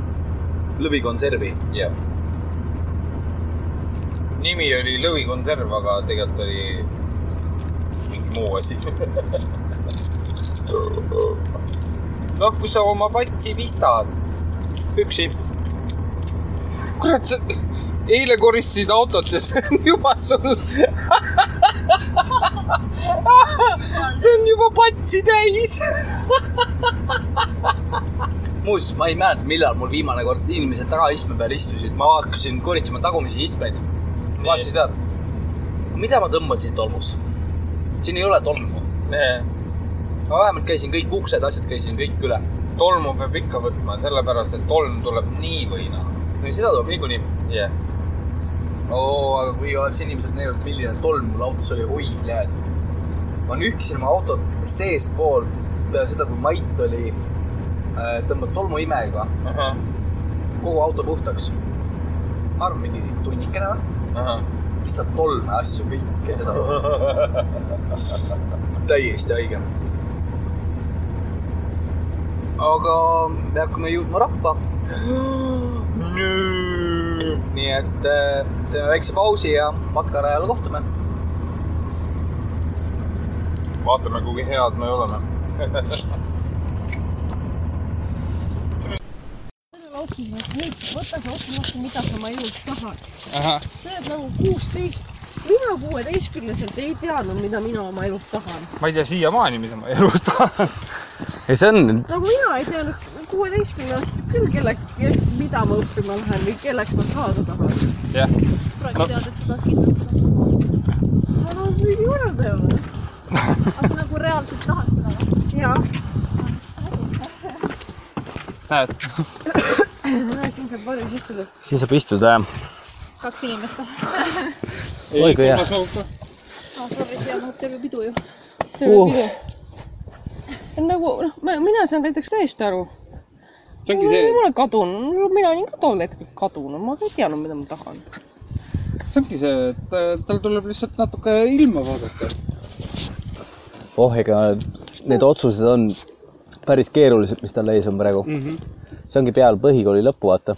S2: lõvikonservi .
S1: jah . nimi oli lõvikonserv , aga tegelikult oli mingi muu asi . no kui sa oma patsi pistad .
S2: üksi .
S1: kurat , sa eile koristasid autot ja see on juba sul , see on juba patsi täis .
S2: muuseas , ma ei mäleta , millal mul viimane kord inimesed tagaistme peal istusid , ma hakkasin koristama tagumisi istmeid . vaatasin seda , mida ma tõmbasin tolmust . siin ei ole tolmu . ma vähemalt käisin kõik uksed , asjad käisin kõik üle .
S1: tolmu peab ikka võtma , sellepärast et tolm tuleb nii või naa .
S2: no seda tuleb niikuinii .
S1: jah yeah. ,
S2: oo , aga kui oleks inimesed näinud , milline tolm mul autos oli , oi tead . ma nühkisin oma autot seestpoolt peale seda , kui Mait oli äh, tõmmanud tolmuimega
S1: ahah ,
S2: kogu auto puhtaks . ma arvan , mingi tunnikene või ?
S1: ahah .
S2: lihtsalt tolme asju , kõike seda . täiesti õige . aga me hakkame jõudma rappa . nii et äh, teeme väikse pausi ja matkarajal kohtume .
S1: vaatame , kui head me oleme .
S3: sellele otsile , nüüd võta see ots lahti , mida sa oma elus tahad .
S1: ahah ,
S3: sa oled nagu kuusteist , mina kuueteistkümneselt ei teadnud , mida mina oma elus tahan .
S1: ma ei tea siiamaani , mida ma elus tahan .
S2: ei , see on ,
S3: nagu mina ei teadnud kuueteistkümnendaselt küll kellegi , mida ma õppima lähen või kelleks ma saada tahan .
S1: jah ,
S4: praegu tead , et sa tahad kindlasti .
S3: ma nagu mingi öelda ei ole .
S4: aga sa nagu reaalselt tahad seda või ?
S3: jah ,
S1: näed .
S3: siin saab varjus istuda .
S2: siin saab istuda jah .
S4: kaks inimest või ?
S2: Oi, kui hea. .
S4: aa , sorry , siia mahub terve pidu ju .
S2: Uh.
S3: nagu noh , mina saan näiteks täiesti aru .
S1: see ongi
S3: mul
S1: see
S3: ei , ole kadunud , mina olin ka tol hetkel kadunud , ma ka ei teadnud , mida ma tahan .
S1: see ongi see , et äh, tal tuleb lihtsalt natuke ilma vaadata .
S2: oh , ega need otsused on päris keerulised , mis tal ees on praegu mm . -hmm. see ongi peal põhikooli lõppu , vaata .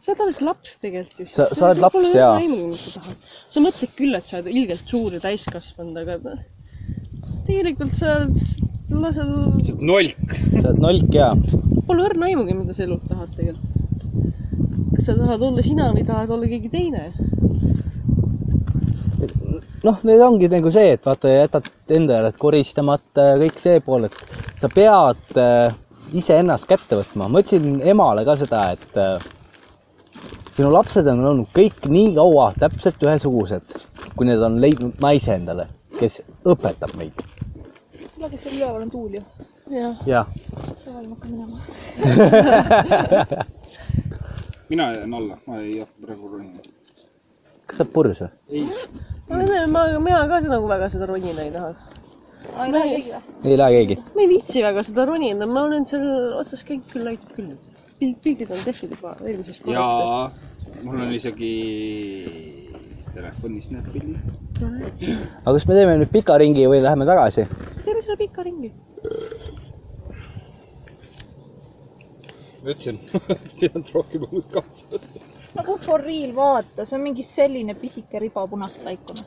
S3: sa oled alles laps tegelikult ju .
S2: Sa- sa oled laps, jaa.
S3: aimu , mis sa tahad . sa mõtled küll , et sa oled ilgelt suur ja täiskasvanud , aga noh, tegelikult sa oled- lased ,
S1: nolk .
S2: sa oled nolk ja
S3: pole õrna aimugi , mida sa elult tahad tegelikult . kas sa tahad olla sina või tahad olla keegi teine ?
S2: noh , need ongi nagu see , et vaata , jätad enda hääled koristamata ja kõik see pool , et sa pead äh, iseennast kätte võtma . ma ütlesin emale ka seda , et äh, sinu lapsed on olnud kõik nii kaua täpselt ühesugused , kui need on leidnud naise endale , kes õpetab meid .
S6: seda , kes seal üleval on tuul ju .
S3: jah ,
S2: jah ,
S6: üleval ma hakkan minema .
S1: mina jään alla , ma ei hakka praegu ronima .
S2: kas sa oled purjus või ?
S3: ma ei tea , ma , mina ka seda nagu väga seda ronida ei taha .
S4: ei lähe keegi või ?
S2: ei lähe keegi ?
S3: ma ei viitsi väga seda ronida , ma olen seal otsas käinud küll , aitab küll . pildid on tehtud juba eelmisest
S1: ja
S3: korrast .
S1: mul on isegi telefonis need pildid .
S2: aga kas me teeme nüüd pika ringi või läheme tagasi ?
S3: teeme selle pika ringi .
S1: ma ütlesin , pidanud rohkem õlut kaasa võtma .
S4: nagu for real , vaata , see on mingi selline pisike riba punast laikuna .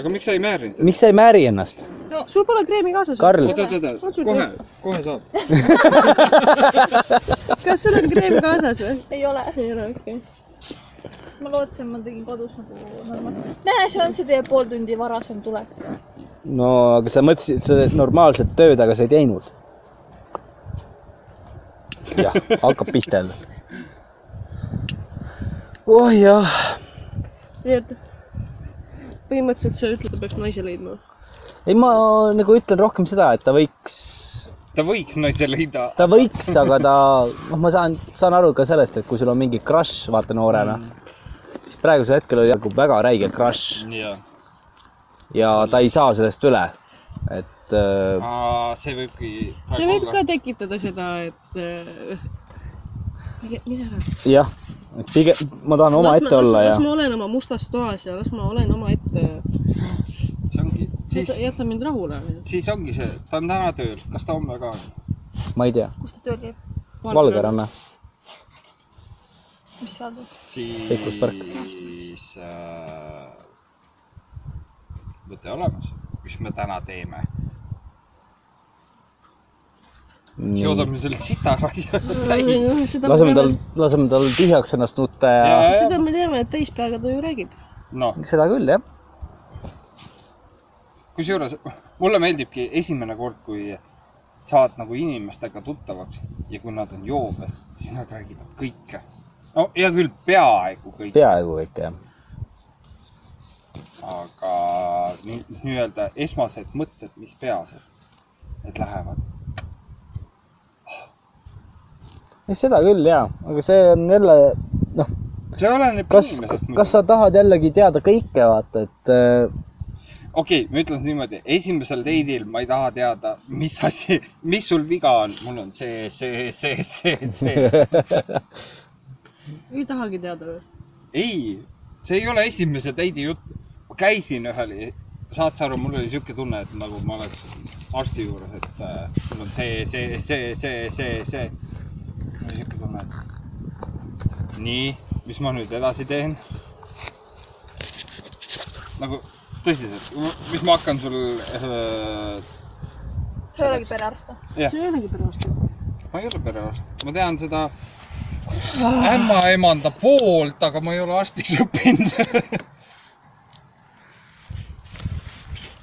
S1: aga miks sa ei määrinud ?
S2: miks sa ei määri ennast ?
S3: sul pole kreemi kaasas ?
S2: Karl ,
S1: oot , oot , oot , kohe , kohe saab .
S3: kas sul on kreem kaasas või ?
S4: ei ole ,
S3: ei ole , okei okay. .
S4: ma lootsin , ma tegin kodus nagu normaalselt . näe , see on see teie pool tundi varasem tulek .
S2: no aga sa mõtlesid , sa teed normaalset tööd , aga sa ei teinud . jah , hakkab pihta jälle . oh jah ,
S3: nii et põhimõtteliselt see ütleb , et peaks naise leidma .
S2: ei ma nagu ütlen rohkem seda , et ta võiks
S1: ta võiks naise leida .
S2: ta võiks , aga ta , noh , ma saan , saan aru ka sellest , et kui sul on mingi crush , vaata noorena mm. , siis praegusel hetkel oli nagu väga räige crush
S1: jaa .
S2: ja ta ei saa sellest üle . et äh,
S1: see võibki .
S3: see võib ka tekitada seda , et äh, mine mine ära .
S2: jah , pigem ma tahan omaette olla ja
S3: las ma olen oma mustas toas ja las ma olen omaette .
S1: see ongi , siis ,
S3: jäta mind rahule .
S1: siis ongi see , ta on täna tööl , kas ta homme ka on ?
S2: ma ei tea ,
S4: kus ta tööl käib ?
S2: Valgeranna .
S4: mis seal toimub ?
S1: siis .
S2: Seikluspark.
S1: siis äh, mõte olemas , mis me täna teeme . joodame selle sitara asja .
S2: laseme tal , laseme tal tühjaks ennast nutta ja, ja.
S3: seda me teame , et teist päeva ta ju räägib .
S1: noh ,
S2: seda küll jah ,
S1: kusjuures mulle meeldibki esimene kord , kui saad nagu inimestega tuttavaks ja kui nad on joobes , siis nad räägivad kõike . no hea küll , peaaegu kõik ,
S2: peaaegu kõik jah .
S1: aga nii- nii-öelda esmased mõtted , mis peas on , need lähevad .
S2: seda küll ja , aga see on jälle
S1: see oleneb
S2: kas ,
S1: inimesest
S2: kas sa tahad jällegi teada kõike , vaata , et äh,
S1: okei okay, , ma ütlen siis niimoodi , esimesel date'il ma ei taha teada , mis asi , mis sul viga on , mul on see , see , see , see , see .
S3: ei tahagi teada või ?
S1: ei , see ei ole esimese date'i jutt . ma käisin ühel , saad sa aru , mul oli sihuke tunne , et nagu ma oleks arsti juures , et äh, mul on see , see , see , see , see , see . mul oli sihuke tunne , et nii , mis ma nüüd edasi teen ? nagu tõsiselt , mis ma hakkan sul äh,
S4: sa ei olegi perearst või ?
S1: Jah.
S3: see ei olegi pärast .
S1: ma ei ole perearst , ma tean seda ämmaemanda poolt , aga ma ei ole arstiks õppinud .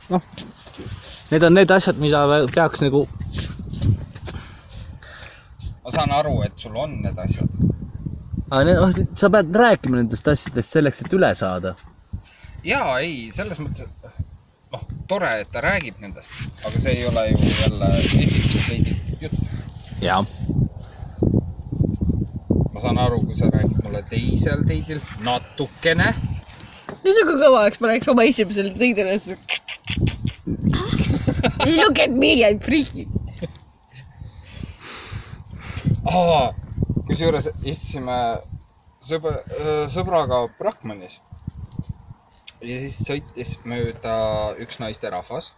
S2: Need on need asjad , mida vä- peaks nagu ,
S1: ma saan aru , et sul on need asjad .
S2: noh , sa pead rääkima nendest asjadest selleks , et üle saada .
S1: ja ei , selles mõttes , et noh , tore , et ta räägib nendest , aga see ei ole ju jälle esimese veidi jutt .
S2: jah .
S1: ma saan aru , kui sa räägid mulle teisel teidil natukene .
S3: see on ka kõva , eks ma läheks oma esimesele teisele . Ah! Look at me , I m freaky .
S1: kusjuures istusime sõbra , sõbraga Brahmanis . ja siis sõitis mööda üks naisterahvas ,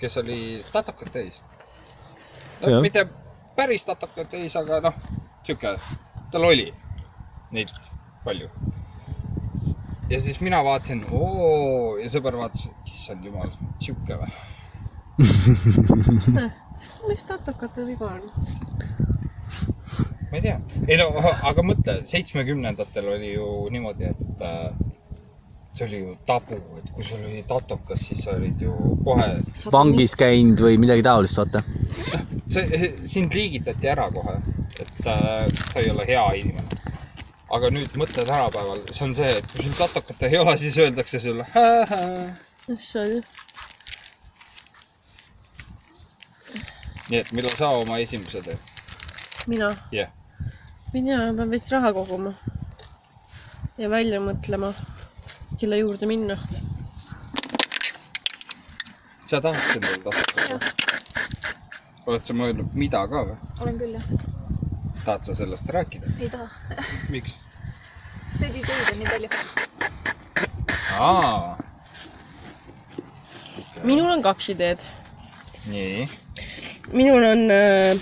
S1: kes oli tatakat täis . no
S2: Jah.
S1: mitte päris tatakat täis , aga noh , sihuke , tal oli neid palju . ja siis mina vaatasin , oo , ja sõber vaatas , issand jumal , sihuke vä .
S3: mis tatakate viga on ?
S1: ma ei tea , ei no aga mõtle , seitsmekümnendatel oli ju niimoodi , et äh, see oli ju tabu , et kui sul oli tatokas , siis sa olid ju kohe ,
S2: vangis käinud või midagi taolist , vaata .
S1: see , sind liigitati ära kohe , et äh, sa ei ole hea inimene . aga nüüd mõtle tänapäeval , see on see , et kui sul katakat ei ole , siis öeldakse sulle .
S3: issand jah .
S1: nii et millal sa oma esimese teed ?
S3: mina
S1: Jah. ?
S3: mina pean vist raha koguma . ja välja mõtlema , kelle juurde minna .
S1: sa tahaks endale katakat ? oled sa mõelnud , mida ka või ?
S4: olen küll jah ,
S1: tahad sa sellest rääkida ?
S4: ei taha ,
S1: miks ?
S4: sest neid ideid on nii palju .
S1: aa ,
S3: minul on kaks ideed .
S1: nii .
S3: minul on äh,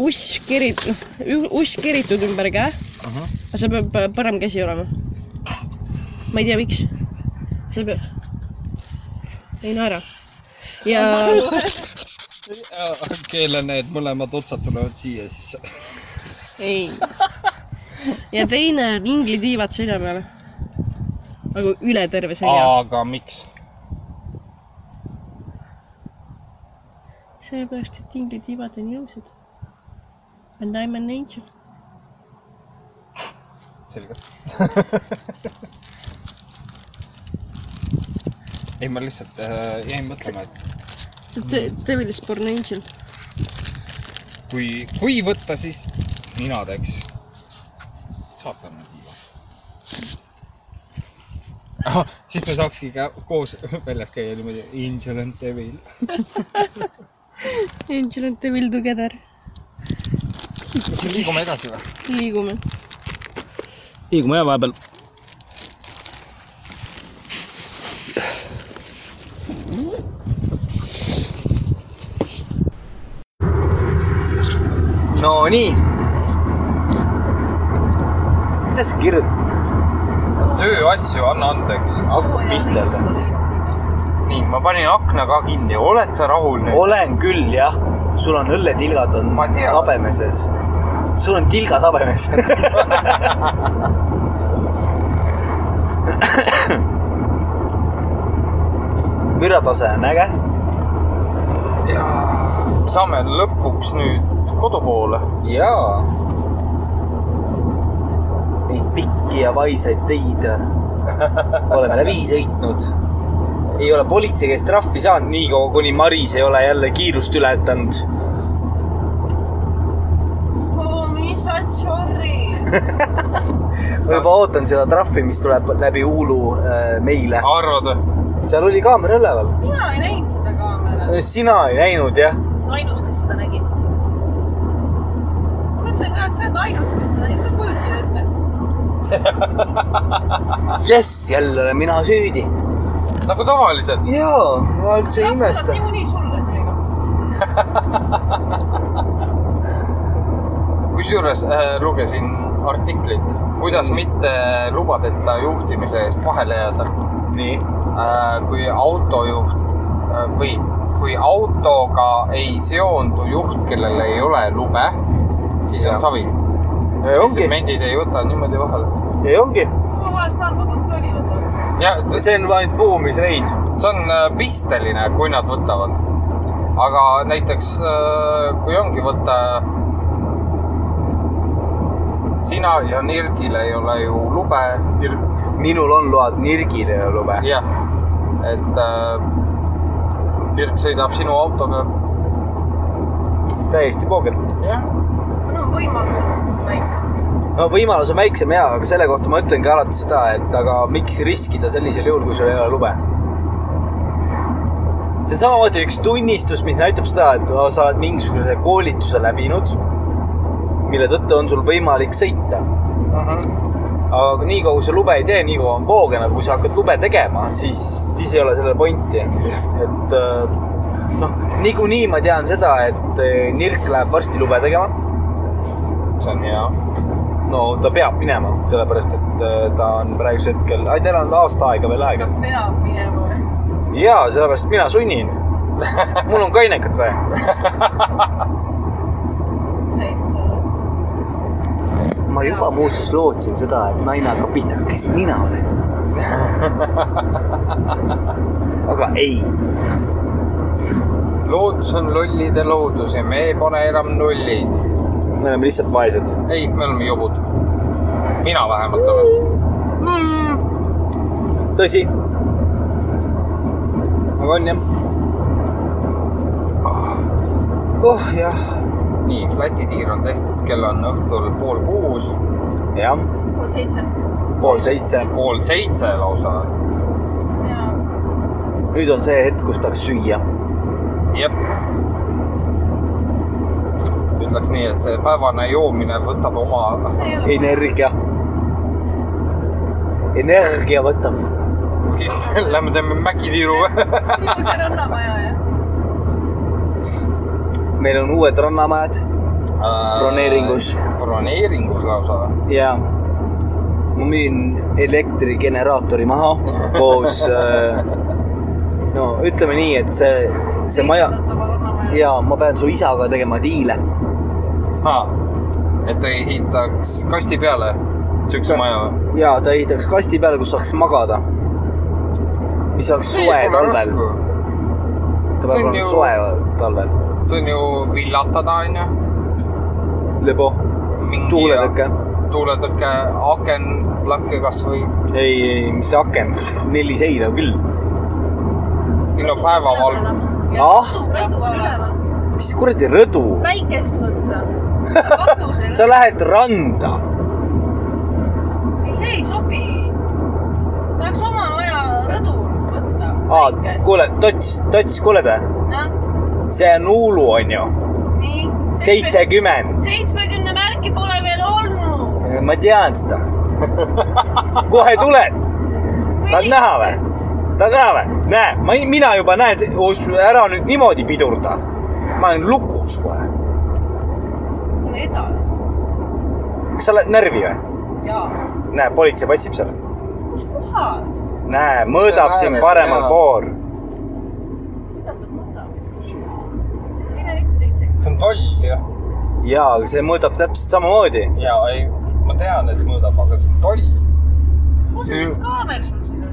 S3: uss kerit- , noh , uss keritud ümber käe uh .
S1: Ahah.
S3: -huh. aga see peab äh, parem käsi olema . ma ei tea , miks . see peab , ei naera . ja
S1: keele need mõlemad otsad tulevad siia siis .
S3: ei . ja teine ringlitiivad selja peale . nagu üle terve selja .
S1: aga miks ?
S3: sellepärast , et ringlitiivad on ilusad . And I m an angel .
S1: selge ei , ma lihtsalt äh, jäin mõtlema , et
S3: The devil is born angel .
S1: kui , kui võtta , siis mina teeks saatana tiiva . siis me saakski ka koos väljas käia niimoodi Angel and Devil .
S3: Angel and devil together .
S1: kas me liigume edasi või ?
S3: liigume .
S7: liigume jah vahepeal .
S2: Nonii . mida sa kirjutad ?
S8: tööasju , anna andeks .
S2: hakkab pistelda .
S8: nii , ma panin akna ka kinni , oled sa rahul nüüd ?
S2: olen küll jah , sul on õlletilgad on
S8: Ma tean.
S2: habeme sees . sul on tilgad habemes . müratase on äge ,
S8: saame lõpuks nüüd kodu poole .
S2: jaa . Neid pikki ja vaiseid teid oleme läbi sõitnud . ei ole politsei käest trahvi saanud niikaua , kuni Maris ei ole jälle kiirust ületanud .
S9: oo , mis sa oled sorry .
S2: ma juba ootan seda trahvi , mis tuleb läbi Uulu äh, meile .
S8: arvad või ?
S2: seal oli kaamera üleval .
S9: mina ei näinud seda kaamerat .
S2: sina ei näinud jah ?
S4: sa oled ainus , kes seda nägi .
S9: ma ütlen ka , et sa oled ainus , kes seda , sa kujutasid ette .
S2: jess , jälle olen mina süüdi .
S8: nagu tavaliselt .
S2: jaa , ma üldse ei imesta .
S9: niikuinii sulle seega .
S8: kusjuures äh, lugesin artiklit , kuidas
S2: Mm.
S8: mitte lubadeta juhtimise eest vahele jääda
S2: nii .
S8: äh, . kui autojuht äh, või kui autoga ei seondu juht , kellel ei ole lube , siis
S2: Jah.
S8: on savi .
S2: ei
S8: siis
S2: ongi ,
S8: mendid ei võta niimoodi vahele .
S2: ei ongi .
S9: ma vahest arvan , kontrollivad või ?
S8: ja see-
S2: see on ainult puhumisreid .
S8: see on äh, pisteline , kui nad võtavad . aga näiteks äh, kui ongi võtta . sina ja Nirgil ei ole ju lube , Nirg ,
S2: minul on load nirgile ja lube .
S8: jah , et äh, Nirg sõidab sinu autoga ,
S2: täiesti poogen .
S8: jah .
S9: no võimalused täis .
S2: no võimalus on väiksem ja , aga selle kohta ma ütlengi alati seda , et aga miks riskida sellisel juhul , kui sul ei ole lube . see on samamoodi üks tunnistus , mis näitab seda , et aa, sa oled mingisuguse koolituse läbinud , mille tõttu on sul võimalik sõita . aga niikaua , kui sa lube ei tee , niikaua on poogen , aga kui sa hakkad lube tegema , siis , siis ei ole sellel pointi . et äh, noh , niikuinii ma tean seda , et äh, Nirk läheb varsti lube tegema
S8: see on hea .
S2: no ta peab minema , sellepärast et äh, ta on praegusel hetkel , teil on aasta aega veel aega .
S9: peab minema või ?
S2: ja sellepärast mina sunnin . mul on kainekat vaja .
S9: täitsa .
S2: ma juba muuseas lootsin seda , et naine hakkab pihta , kes mina olen . aga ei ,
S8: loodus on lollide loodus ja me ei pane enam nullid .
S2: me oleme lihtsalt vaesed .
S8: ei , me oleme jobud . mina vähemalt olen .
S2: tõsi . aga on jah . oh jah ,
S8: nii , flatitiir on tehtud , kell on õhtul pool kuus ,
S2: jah ,
S4: pool seitse .
S2: pool seitse .
S8: pool seitse lausa .
S3: ja
S2: nüüd on see hetk , kus tahaks süüa .
S8: jep . ütleks nii , et see päevane joomine võtab oma ,
S3: see ei ole
S2: energia . energia võtab .
S8: lähme teeme mäkitiiru .
S3: sinu see rannamaja ja
S2: meil on uued rannamajad broneeringus
S8: Äh, broneeringus lausa .
S2: ja ma müün elektrigeneraatori maha koos äh, no ütleme nii , et see , see maja
S3: rannamaja .
S2: ja ma pean su isaga tegema diile .
S8: et ta ehitaks kasti peale siukse maja või ?
S2: ja ta ehitaks kasti peale , kus saaks magada . mis oleks soe talvel . ta
S8: See
S2: peab
S8: on
S2: olema
S8: ju-
S2: soe talvel .
S8: see on ju villatada onju .
S2: lebo , tuuletõke .
S8: tuuletõke , aken , lakke kasvõi ,
S2: ei , ei , mis see aken , neli seina küll .
S8: no päevavalg .
S2: Ah?
S3: pedu üleval .
S2: mis kuradi rõdu ,
S4: päikest võtta .
S2: sa
S3: katusel .
S2: lähed randa .
S3: ei , see ei sobi . tahaks oma aja rõdur võtta .
S2: kuule , tots , tots , kuuled või ? see on Uulu , onju .
S3: nii .
S2: seitsekümmend .
S3: seitsmekümne märki pole veel olnud .
S2: ma tean seda . kohe tuleb . tahad näha või ?? tahad näha või ? näe , ma , mina juba näen , ära nüüd niimoodi pidurda . ma olen lukus kohe .
S3: mul edasi .
S2: kas sa oled närvi või ?
S3: jaa .
S2: näe , politsei passib seal .
S3: kus kohas ?
S2: näe , mõõdab siin paremal pool .
S3: mida ta mõõdab ? sind . siin on ikka seitsekümmend .
S8: see on toll jah .
S2: jaa , aga see mõõdab täpselt samamoodi .
S8: ja ei , ma tean , et mõõdab , aga see on toll .
S3: kus see kaamer sul siin on ?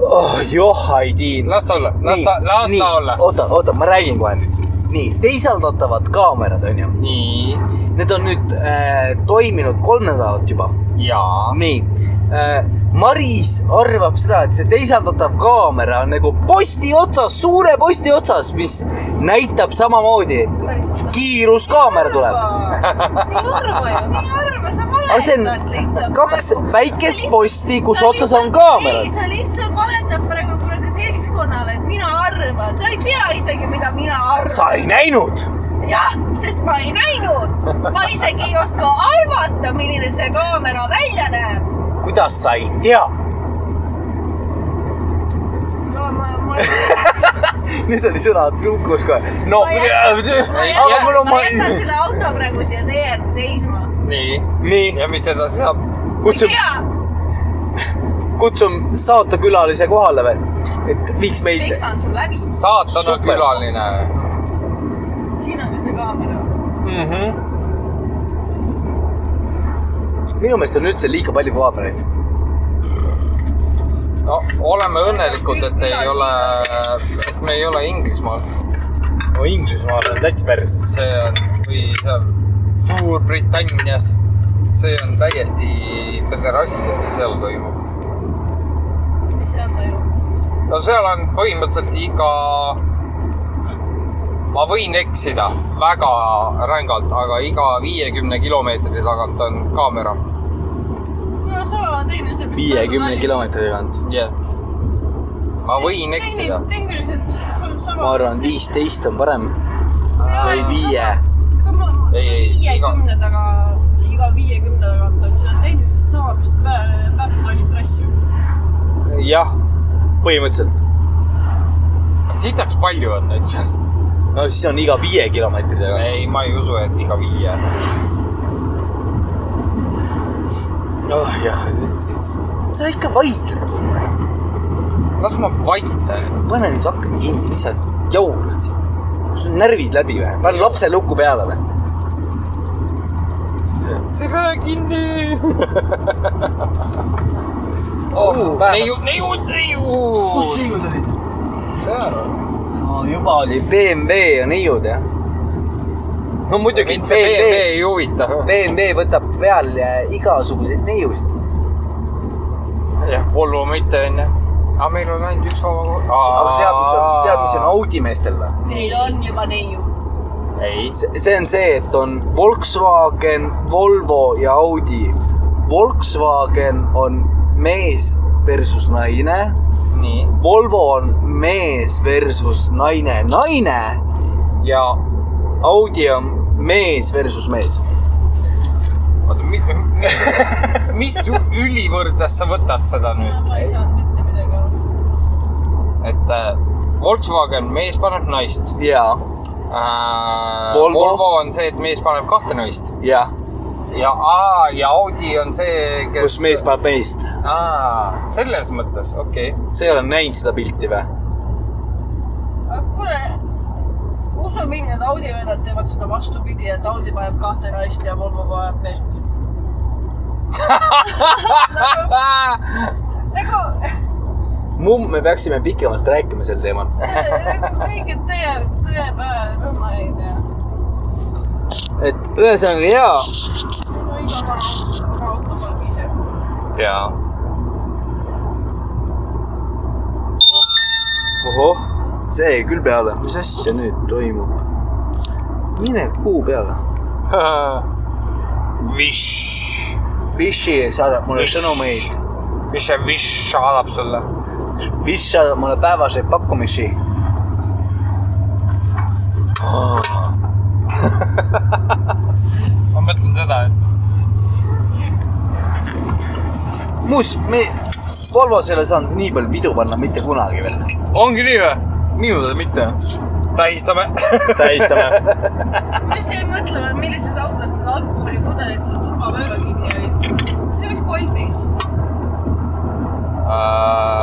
S2: oh , johhaidiin .
S8: las ta olla , las ta , las ta olla .
S2: oota , oota , ma räägin kohe nüüd . nii , teisaldatavad kaamerad onju ,
S8: nii ,
S2: need on nüüd äh, toiminud kolm nädalat juba .
S8: jaa .
S2: nii äh, , Maris arvab seda , et see teisaldatav kaamera on nagu posti otsas , suure posti otsas , mis näitab samamoodi , et kiiruskaamera tuleb .
S4: ei arva ju .
S3: ei arva , sa
S2: aga see
S3: valetad
S2: on
S3: lihtsalt . nagu-
S2: kaks väikest posti , kus otsas on kaamerad
S3: ei ,. sa lihtsalt valetad praegu kuradi seltskonnale , et mina arvan , sa ei tea isegi , mida mina
S2: sa
S3: arvan .
S2: ei näinud ,
S3: jah , sest ma ei näinud , ma isegi ei oska arvata , milline see kaamera välja näeb .
S2: kuidas sa ei tea ?
S3: no ma , ma ,
S2: nüüd oli sõna lukus kohe . no ,
S3: Ma jätan- ma
S2: aga mul
S3: jätan,
S2: on
S3: ma jätan selle auto praegu siia tee äärde seisma .
S8: nii ,
S2: nii ,
S8: ja mis edasi saab ?
S3: ei
S2: kutsume .
S3: tea ,
S2: kutsun saatekülalise kohale veel , et viiks meid .
S3: peksan su läbi ,
S8: saatana
S2: Super.
S8: külaline
S3: siin on ka see kaamera .
S8: mm .
S2: Mhm.
S8: -hmm.
S2: minu meelest on üldse liiga palju kaamereid .
S8: no oleme õnnelikud , et ei ole , et me ei ole Inglismaal ,
S2: no Inglismaal on täitsa päris .
S8: see on või seal Suurbritannias . see on täiesti pederastia , mis seal toimub .
S3: mis seal toimub ?
S8: no seal on põhimõtteliselt iga , ma võin eksida väga rängalt , aga iga viiekümne kilomeetri tagant on kaamera .
S3: no sama teine see .
S2: viiekümne kilomeetri tagant .
S8: jah . ma võin eksida .
S3: tehniliselt , mis sul sama .
S2: ma arvan , viisteist on parem või viie .
S8: Ei, ei,
S3: viiekümne taga , iga viiekümne tagant on seal tehniliselt sama , mis pä- Battloni trass ju .
S2: jah , põhimõtteliselt .
S8: sitaks palju on neid seal .
S2: no siis on iga viie kilomeetri tagant .
S8: ei , ma ei usu , et iga viie .
S2: noh , jah , sa ikka vaidled .
S8: las ma vaidlen .
S2: pane nüüd aken kinni , mis sa jaurad siin ? sul on närvid läbi või ? pane lapse luku peale või ?
S8: sega kinni . oh , neiu , neiu , neiu .
S2: liigud olid ?
S8: seal on .
S2: no juba oli BMW ja neiud jah .
S8: no muidugi ,
S2: Mind see
S8: see
S2: BMW
S8: BMW ei huvita .
S2: BMW võtab peale igasuguseid neiusid .
S8: jah , Volvo mitte onju . aga meil on ainult üks vaba .
S2: aga tead , mis on , tead , mis on ? Audi meestel või ?
S3: Neil on juba neiu .
S8: ei ,
S2: see on see , et on Volkswagen , Volvo ja Audi . Volkswagen on mees versus naine
S8: nii .
S2: Volvo on mees versus naine , naine ja Audi on mees versus mees .
S8: oota , mis , mis ü- ülivõrdes sa võtad seda nüüd ,
S3: ma ei saanud mitte midagi aru .
S8: et äh, Volkswagen , mees paneb naist
S2: ja ,
S8: äh, .
S2: Volvo.
S8: Volvo on see , et mees paneb kahte naist
S2: ja ,
S8: ja , ja Audi on see , kes .
S2: kus mees paneb meest ,
S8: paneb . selles mõttes , okei okay. .
S2: sa ei ole näinud seda pilti või ?
S3: aga kuule , usu mind , need Audi vennad teevad seda vastupidi , et Audi paneb kahte naist ja Volvo paneb meest . nagu ,
S2: Mumm , me peaksime pikemalt rääkima sel teemal .
S3: nagu kõik need tõe , tõepäev , no ma ei tea .
S2: et ühesõnaga jaa ,
S3: no iga päev auto paneb ise .
S8: jaa .
S2: ohoh , see jäi küll peale , mis asja nüüd toimub ? mine kuu peale .
S8: Vish ,
S2: Vichy saadab mulle sõnumeid ,
S8: mis see Vish saadab sulle ?
S2: Vichy saadab mulle päevaseid pakkumisi .
S8: ma mõtlen seda , et
S2: muuseas , me Volvos ei ole saanud nii palju pidu panna mitte kunagi veel .
S8: ongi nii või ?
S2: minu teada mitte .
S8: tähistame .
S2: tähistame .
S3: ma just jäin mõtlema , millises autos need alkoholipudelid seal tuba väga kinni olid . see oli vist Golfis .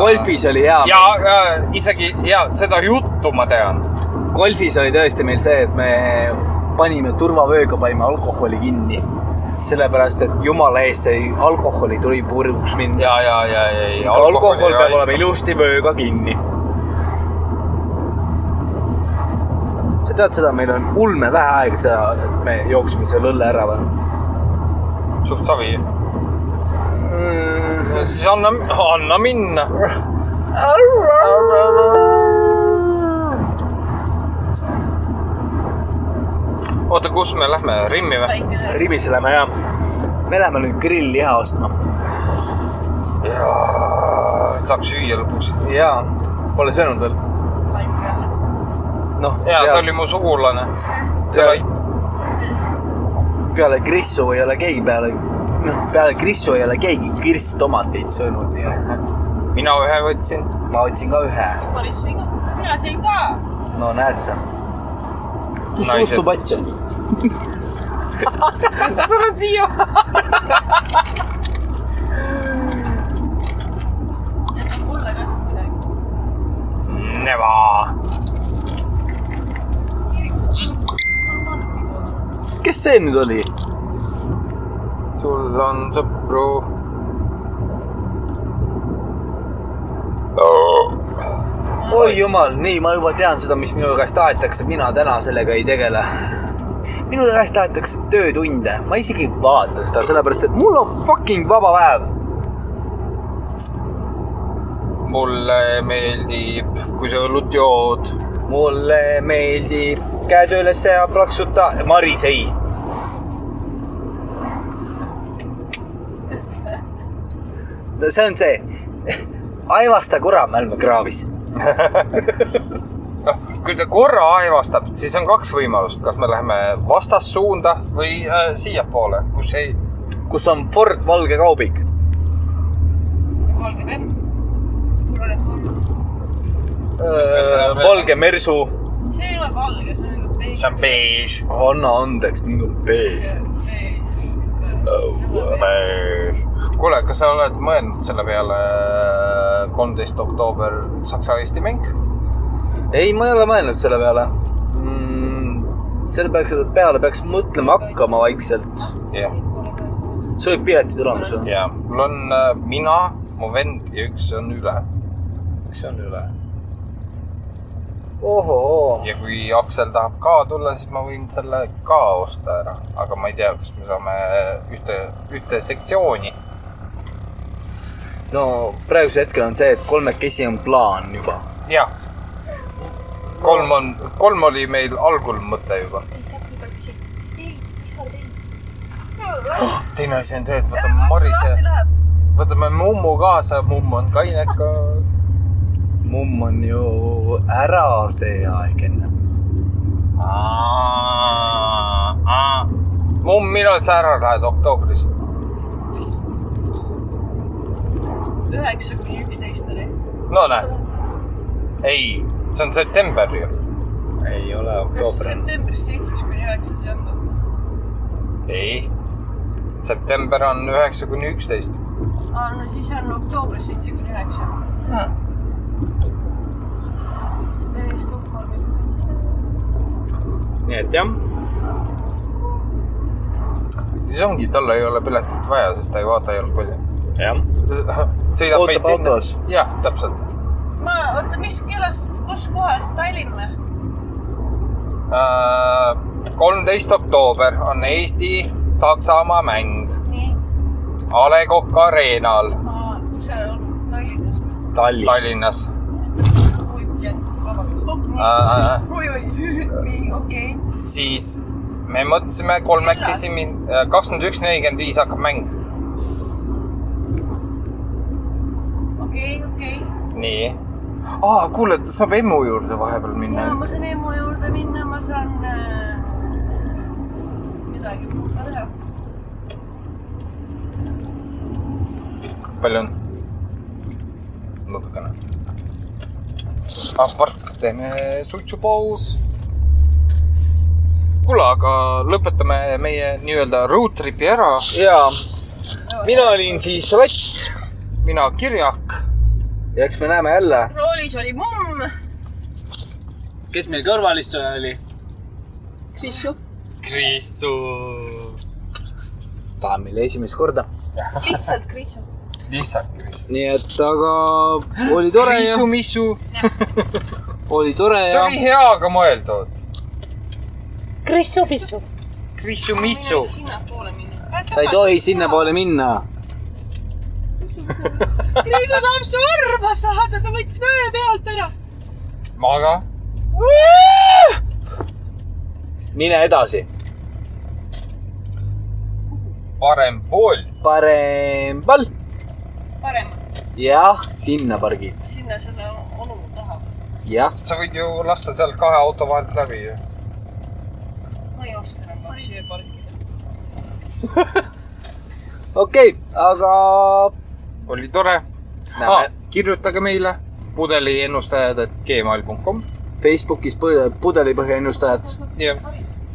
S2: golfis oli hea
S8: ja , ja Äh, isegi ja seda juttu ma tean .
S2: golfis oli tõesti meil see , et me panime turvavööga , panime alkoholi kinni . sellepärast , et jumala eest sai alkoholi tuli puruks minna .
S8: ja , ja , ja , ja , ja .
S2: alkohol peab olema . ilusti vööga kinni . sa tead seda , meil on ulme vähe aega , seda , et me jooksime selle õlle ära või
S8: suht savi .
S2: mm, ?
S8: siis anna , anna minna . oota , kus me lähme , Rimmi või ?
S3: väikene .
S2: Ribisse lähme jah . me läheme nüüd grillliha ostma .
S8: saaks süüa lõpuks .
S2: jaa , pole söönud veel .
S3: laip peale .
S2: noh ,
S8: ja see oli mu sugulane .
S2: peale, peale Krissu ei ole keegi peale , noh peale Krissu ei ole keegi kirstomateid söönud , nii et
S8: mina ühe võtsin .
S2: ma otsin ka ühe .
S3: päris siga . mina sõin ka .
S2: no näed sa . kus
S8: Naised.
S2: suustu pats on ?
S8: sul on siia .
S3: mulle ka sealt midagi .
S8: Neva .
S3: kirikus normaalne pidu on .
S2: kes see nüüd oli ?
S8: sul on sõpru .
S2: oi jumal , nii , ma juba tean seda , mis minu käest tahetakse , mina täna sellega ei tegele . minu käest tahetakse töötunde , ma isegi ei vaata seda , sellepärast et mul on fucking vaba päev .
S8: mulle meeldib , kui sa õlut jood .
S2: mulle meeldib käed ülesse ja plaksuta , Maris ei . no see on see , aevasta Kuramälme kraavis .
S8: noh , kui ta korra aevastab , siis on kaks võimalust , kas me läheme vastassuunda või äh, siiapoole , kus ei .
S2: kus on Ford valge kaubik .
S3: valge memm . mul oli valge .
S2: Äh, valge mersu .
S3: see ei ole valge , see on nagu beež .
S8: see on beež .
S2: anna andeks , minul pee .
S8: kuule , kas sa oled mõelnud selle peale äh, kolmteist oktoober Saksa-Eesti mäng ?
S2: ei , ma ei ole mõelnud selle peale mm, . selle peaks , peale peaks mõtlema hakkama vaikselt .
S8: jah ,
S2: sul olid piletid olemas või ?
S8: ja mul on äh, mina , mu vend ja üks on üle .
S2: üks on üle . ohoo ,
S8: ja kui Aksel tahab ka tulla , siis ma võin selle ka osta ära , aga ma ei tea , kas me saame ühte , ühte sektsiooni .
S2: no praegusel hetkel on see , et kolmekesi on plaan juba .
S8: jah , kolm on , kolm oli meil algul mõte juba . teine asi on see , et võtame Marise , võtame mummu kaasa , mumm on kainekas .
S2: mumm on ju ära see aeg enne .
S8: mumm , millal sa ära lähed oktoobris ?
S3: üheksa kuni üksteist oli .
S8: no näed , ei , see on september ju .
S2: ei ole
S3: kas
S2: oktoober .
S3: septembris seitsmes kuni üheksas ei olnud ?
S8: ei , september on üheksa kuni üksteist .
S3: aa , no siis on oktoobris seitse kuni üheksa . täiesti uhmav .
S2: nii et jah ,
S8: siis ongi , tal ei ole piletit vaja , sest ta ei vaata jalgpalli .
S2: jah .
S8: sõidab
S2: Ootab autos. .
S8: jah , täpselt
S3: ma , oota , mis kellast , kus kohas Tallinn või ?
S8: äh, . kolmteist oktoober on Eesti-Saksamaa mäng
S3: nii ,
S8: A Le Coq Arenal
S3: kus see on Tallinnas ?
S2: Tallinn .
S8: Tallinnas
S3: oi , vabandust .
S8: äh, .
S3: oi , oi , nii , okei okay. .
S8: siis me mõtlesime kolmekesi , kakskümmend üks , nelikümmend viis hakkab mäng .
S3: okei okay, , okei okay. .
S8: nii . aa , kuule , saab emmu juurde vahepeal minna
S3: ja . ma saan EMO juurde minna , ma saan äh, midagi muud ka teha .
S8: palju on ? natukene . ah , varsti teeme suitsupaus . kuule , aga lõpetame meie nii-öelda road trip'i ära .
S2: ja mina olin siis Rott
S8: mina kirjak .
S2: ja eks me näeme jälle ,
S3: roolis oli mumm .
S2: kes meil kõrval istuja oli .
S3: Krissu .
S8: Kriisu .
S2: ta on meil esimest korda .
S3: lihtsalt Krissu .
S8: lihtsalt Kriis .
S2: nii et aga oli tore ja
S8: Kriisu , Missu .
S2: oli tore
S8: see
S2: ja
S8: oli heaga mõeldud .
S10: Kris Ubisu .
S8: Kriisu , Missu .
S3: sinnapoole minna .
S2: sa ei tohi sinnapoole minna .
S3: Kriisu tahab surma saada , ta võttis möö pealt ära .
S8: maga .
S2: mine edasi ,
S8: parem pool .
S2: parem pall .
S3: parem ,
S2: jah , sinna pargid ,
S3: sinna selle onu taha .
S2: jah .
S8: sa võid ju lasta sealt kahe auto vahelt läbi ju .
S3: ma ei oska enam lapsi parkida .
S2: okei okay, , aga
S8: oli tore .
S2: näeme ah.
S8: kirjutage meile pudeliennustajad , et gmail.com .
S2: Facebookis põ- pudelipõhja ennustajad
S8: ja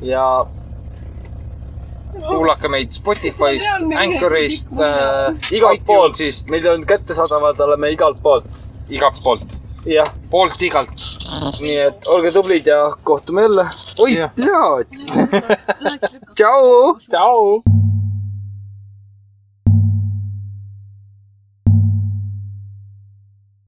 S2: ja
S8: kuulake meid Spotify'st , Anchor'ist äh, ,
S2: igalt poolt siis ,, meid on kättesaadavad , oleme igalt poolt .
S8: igalt poolt ,
S2: jah ,
S8: poolt igalt .
S2: nii et olge tublid ja kohtume jälle . oi
S8: Jah. ,
S2: pljaa . tšau .
S8: tšau .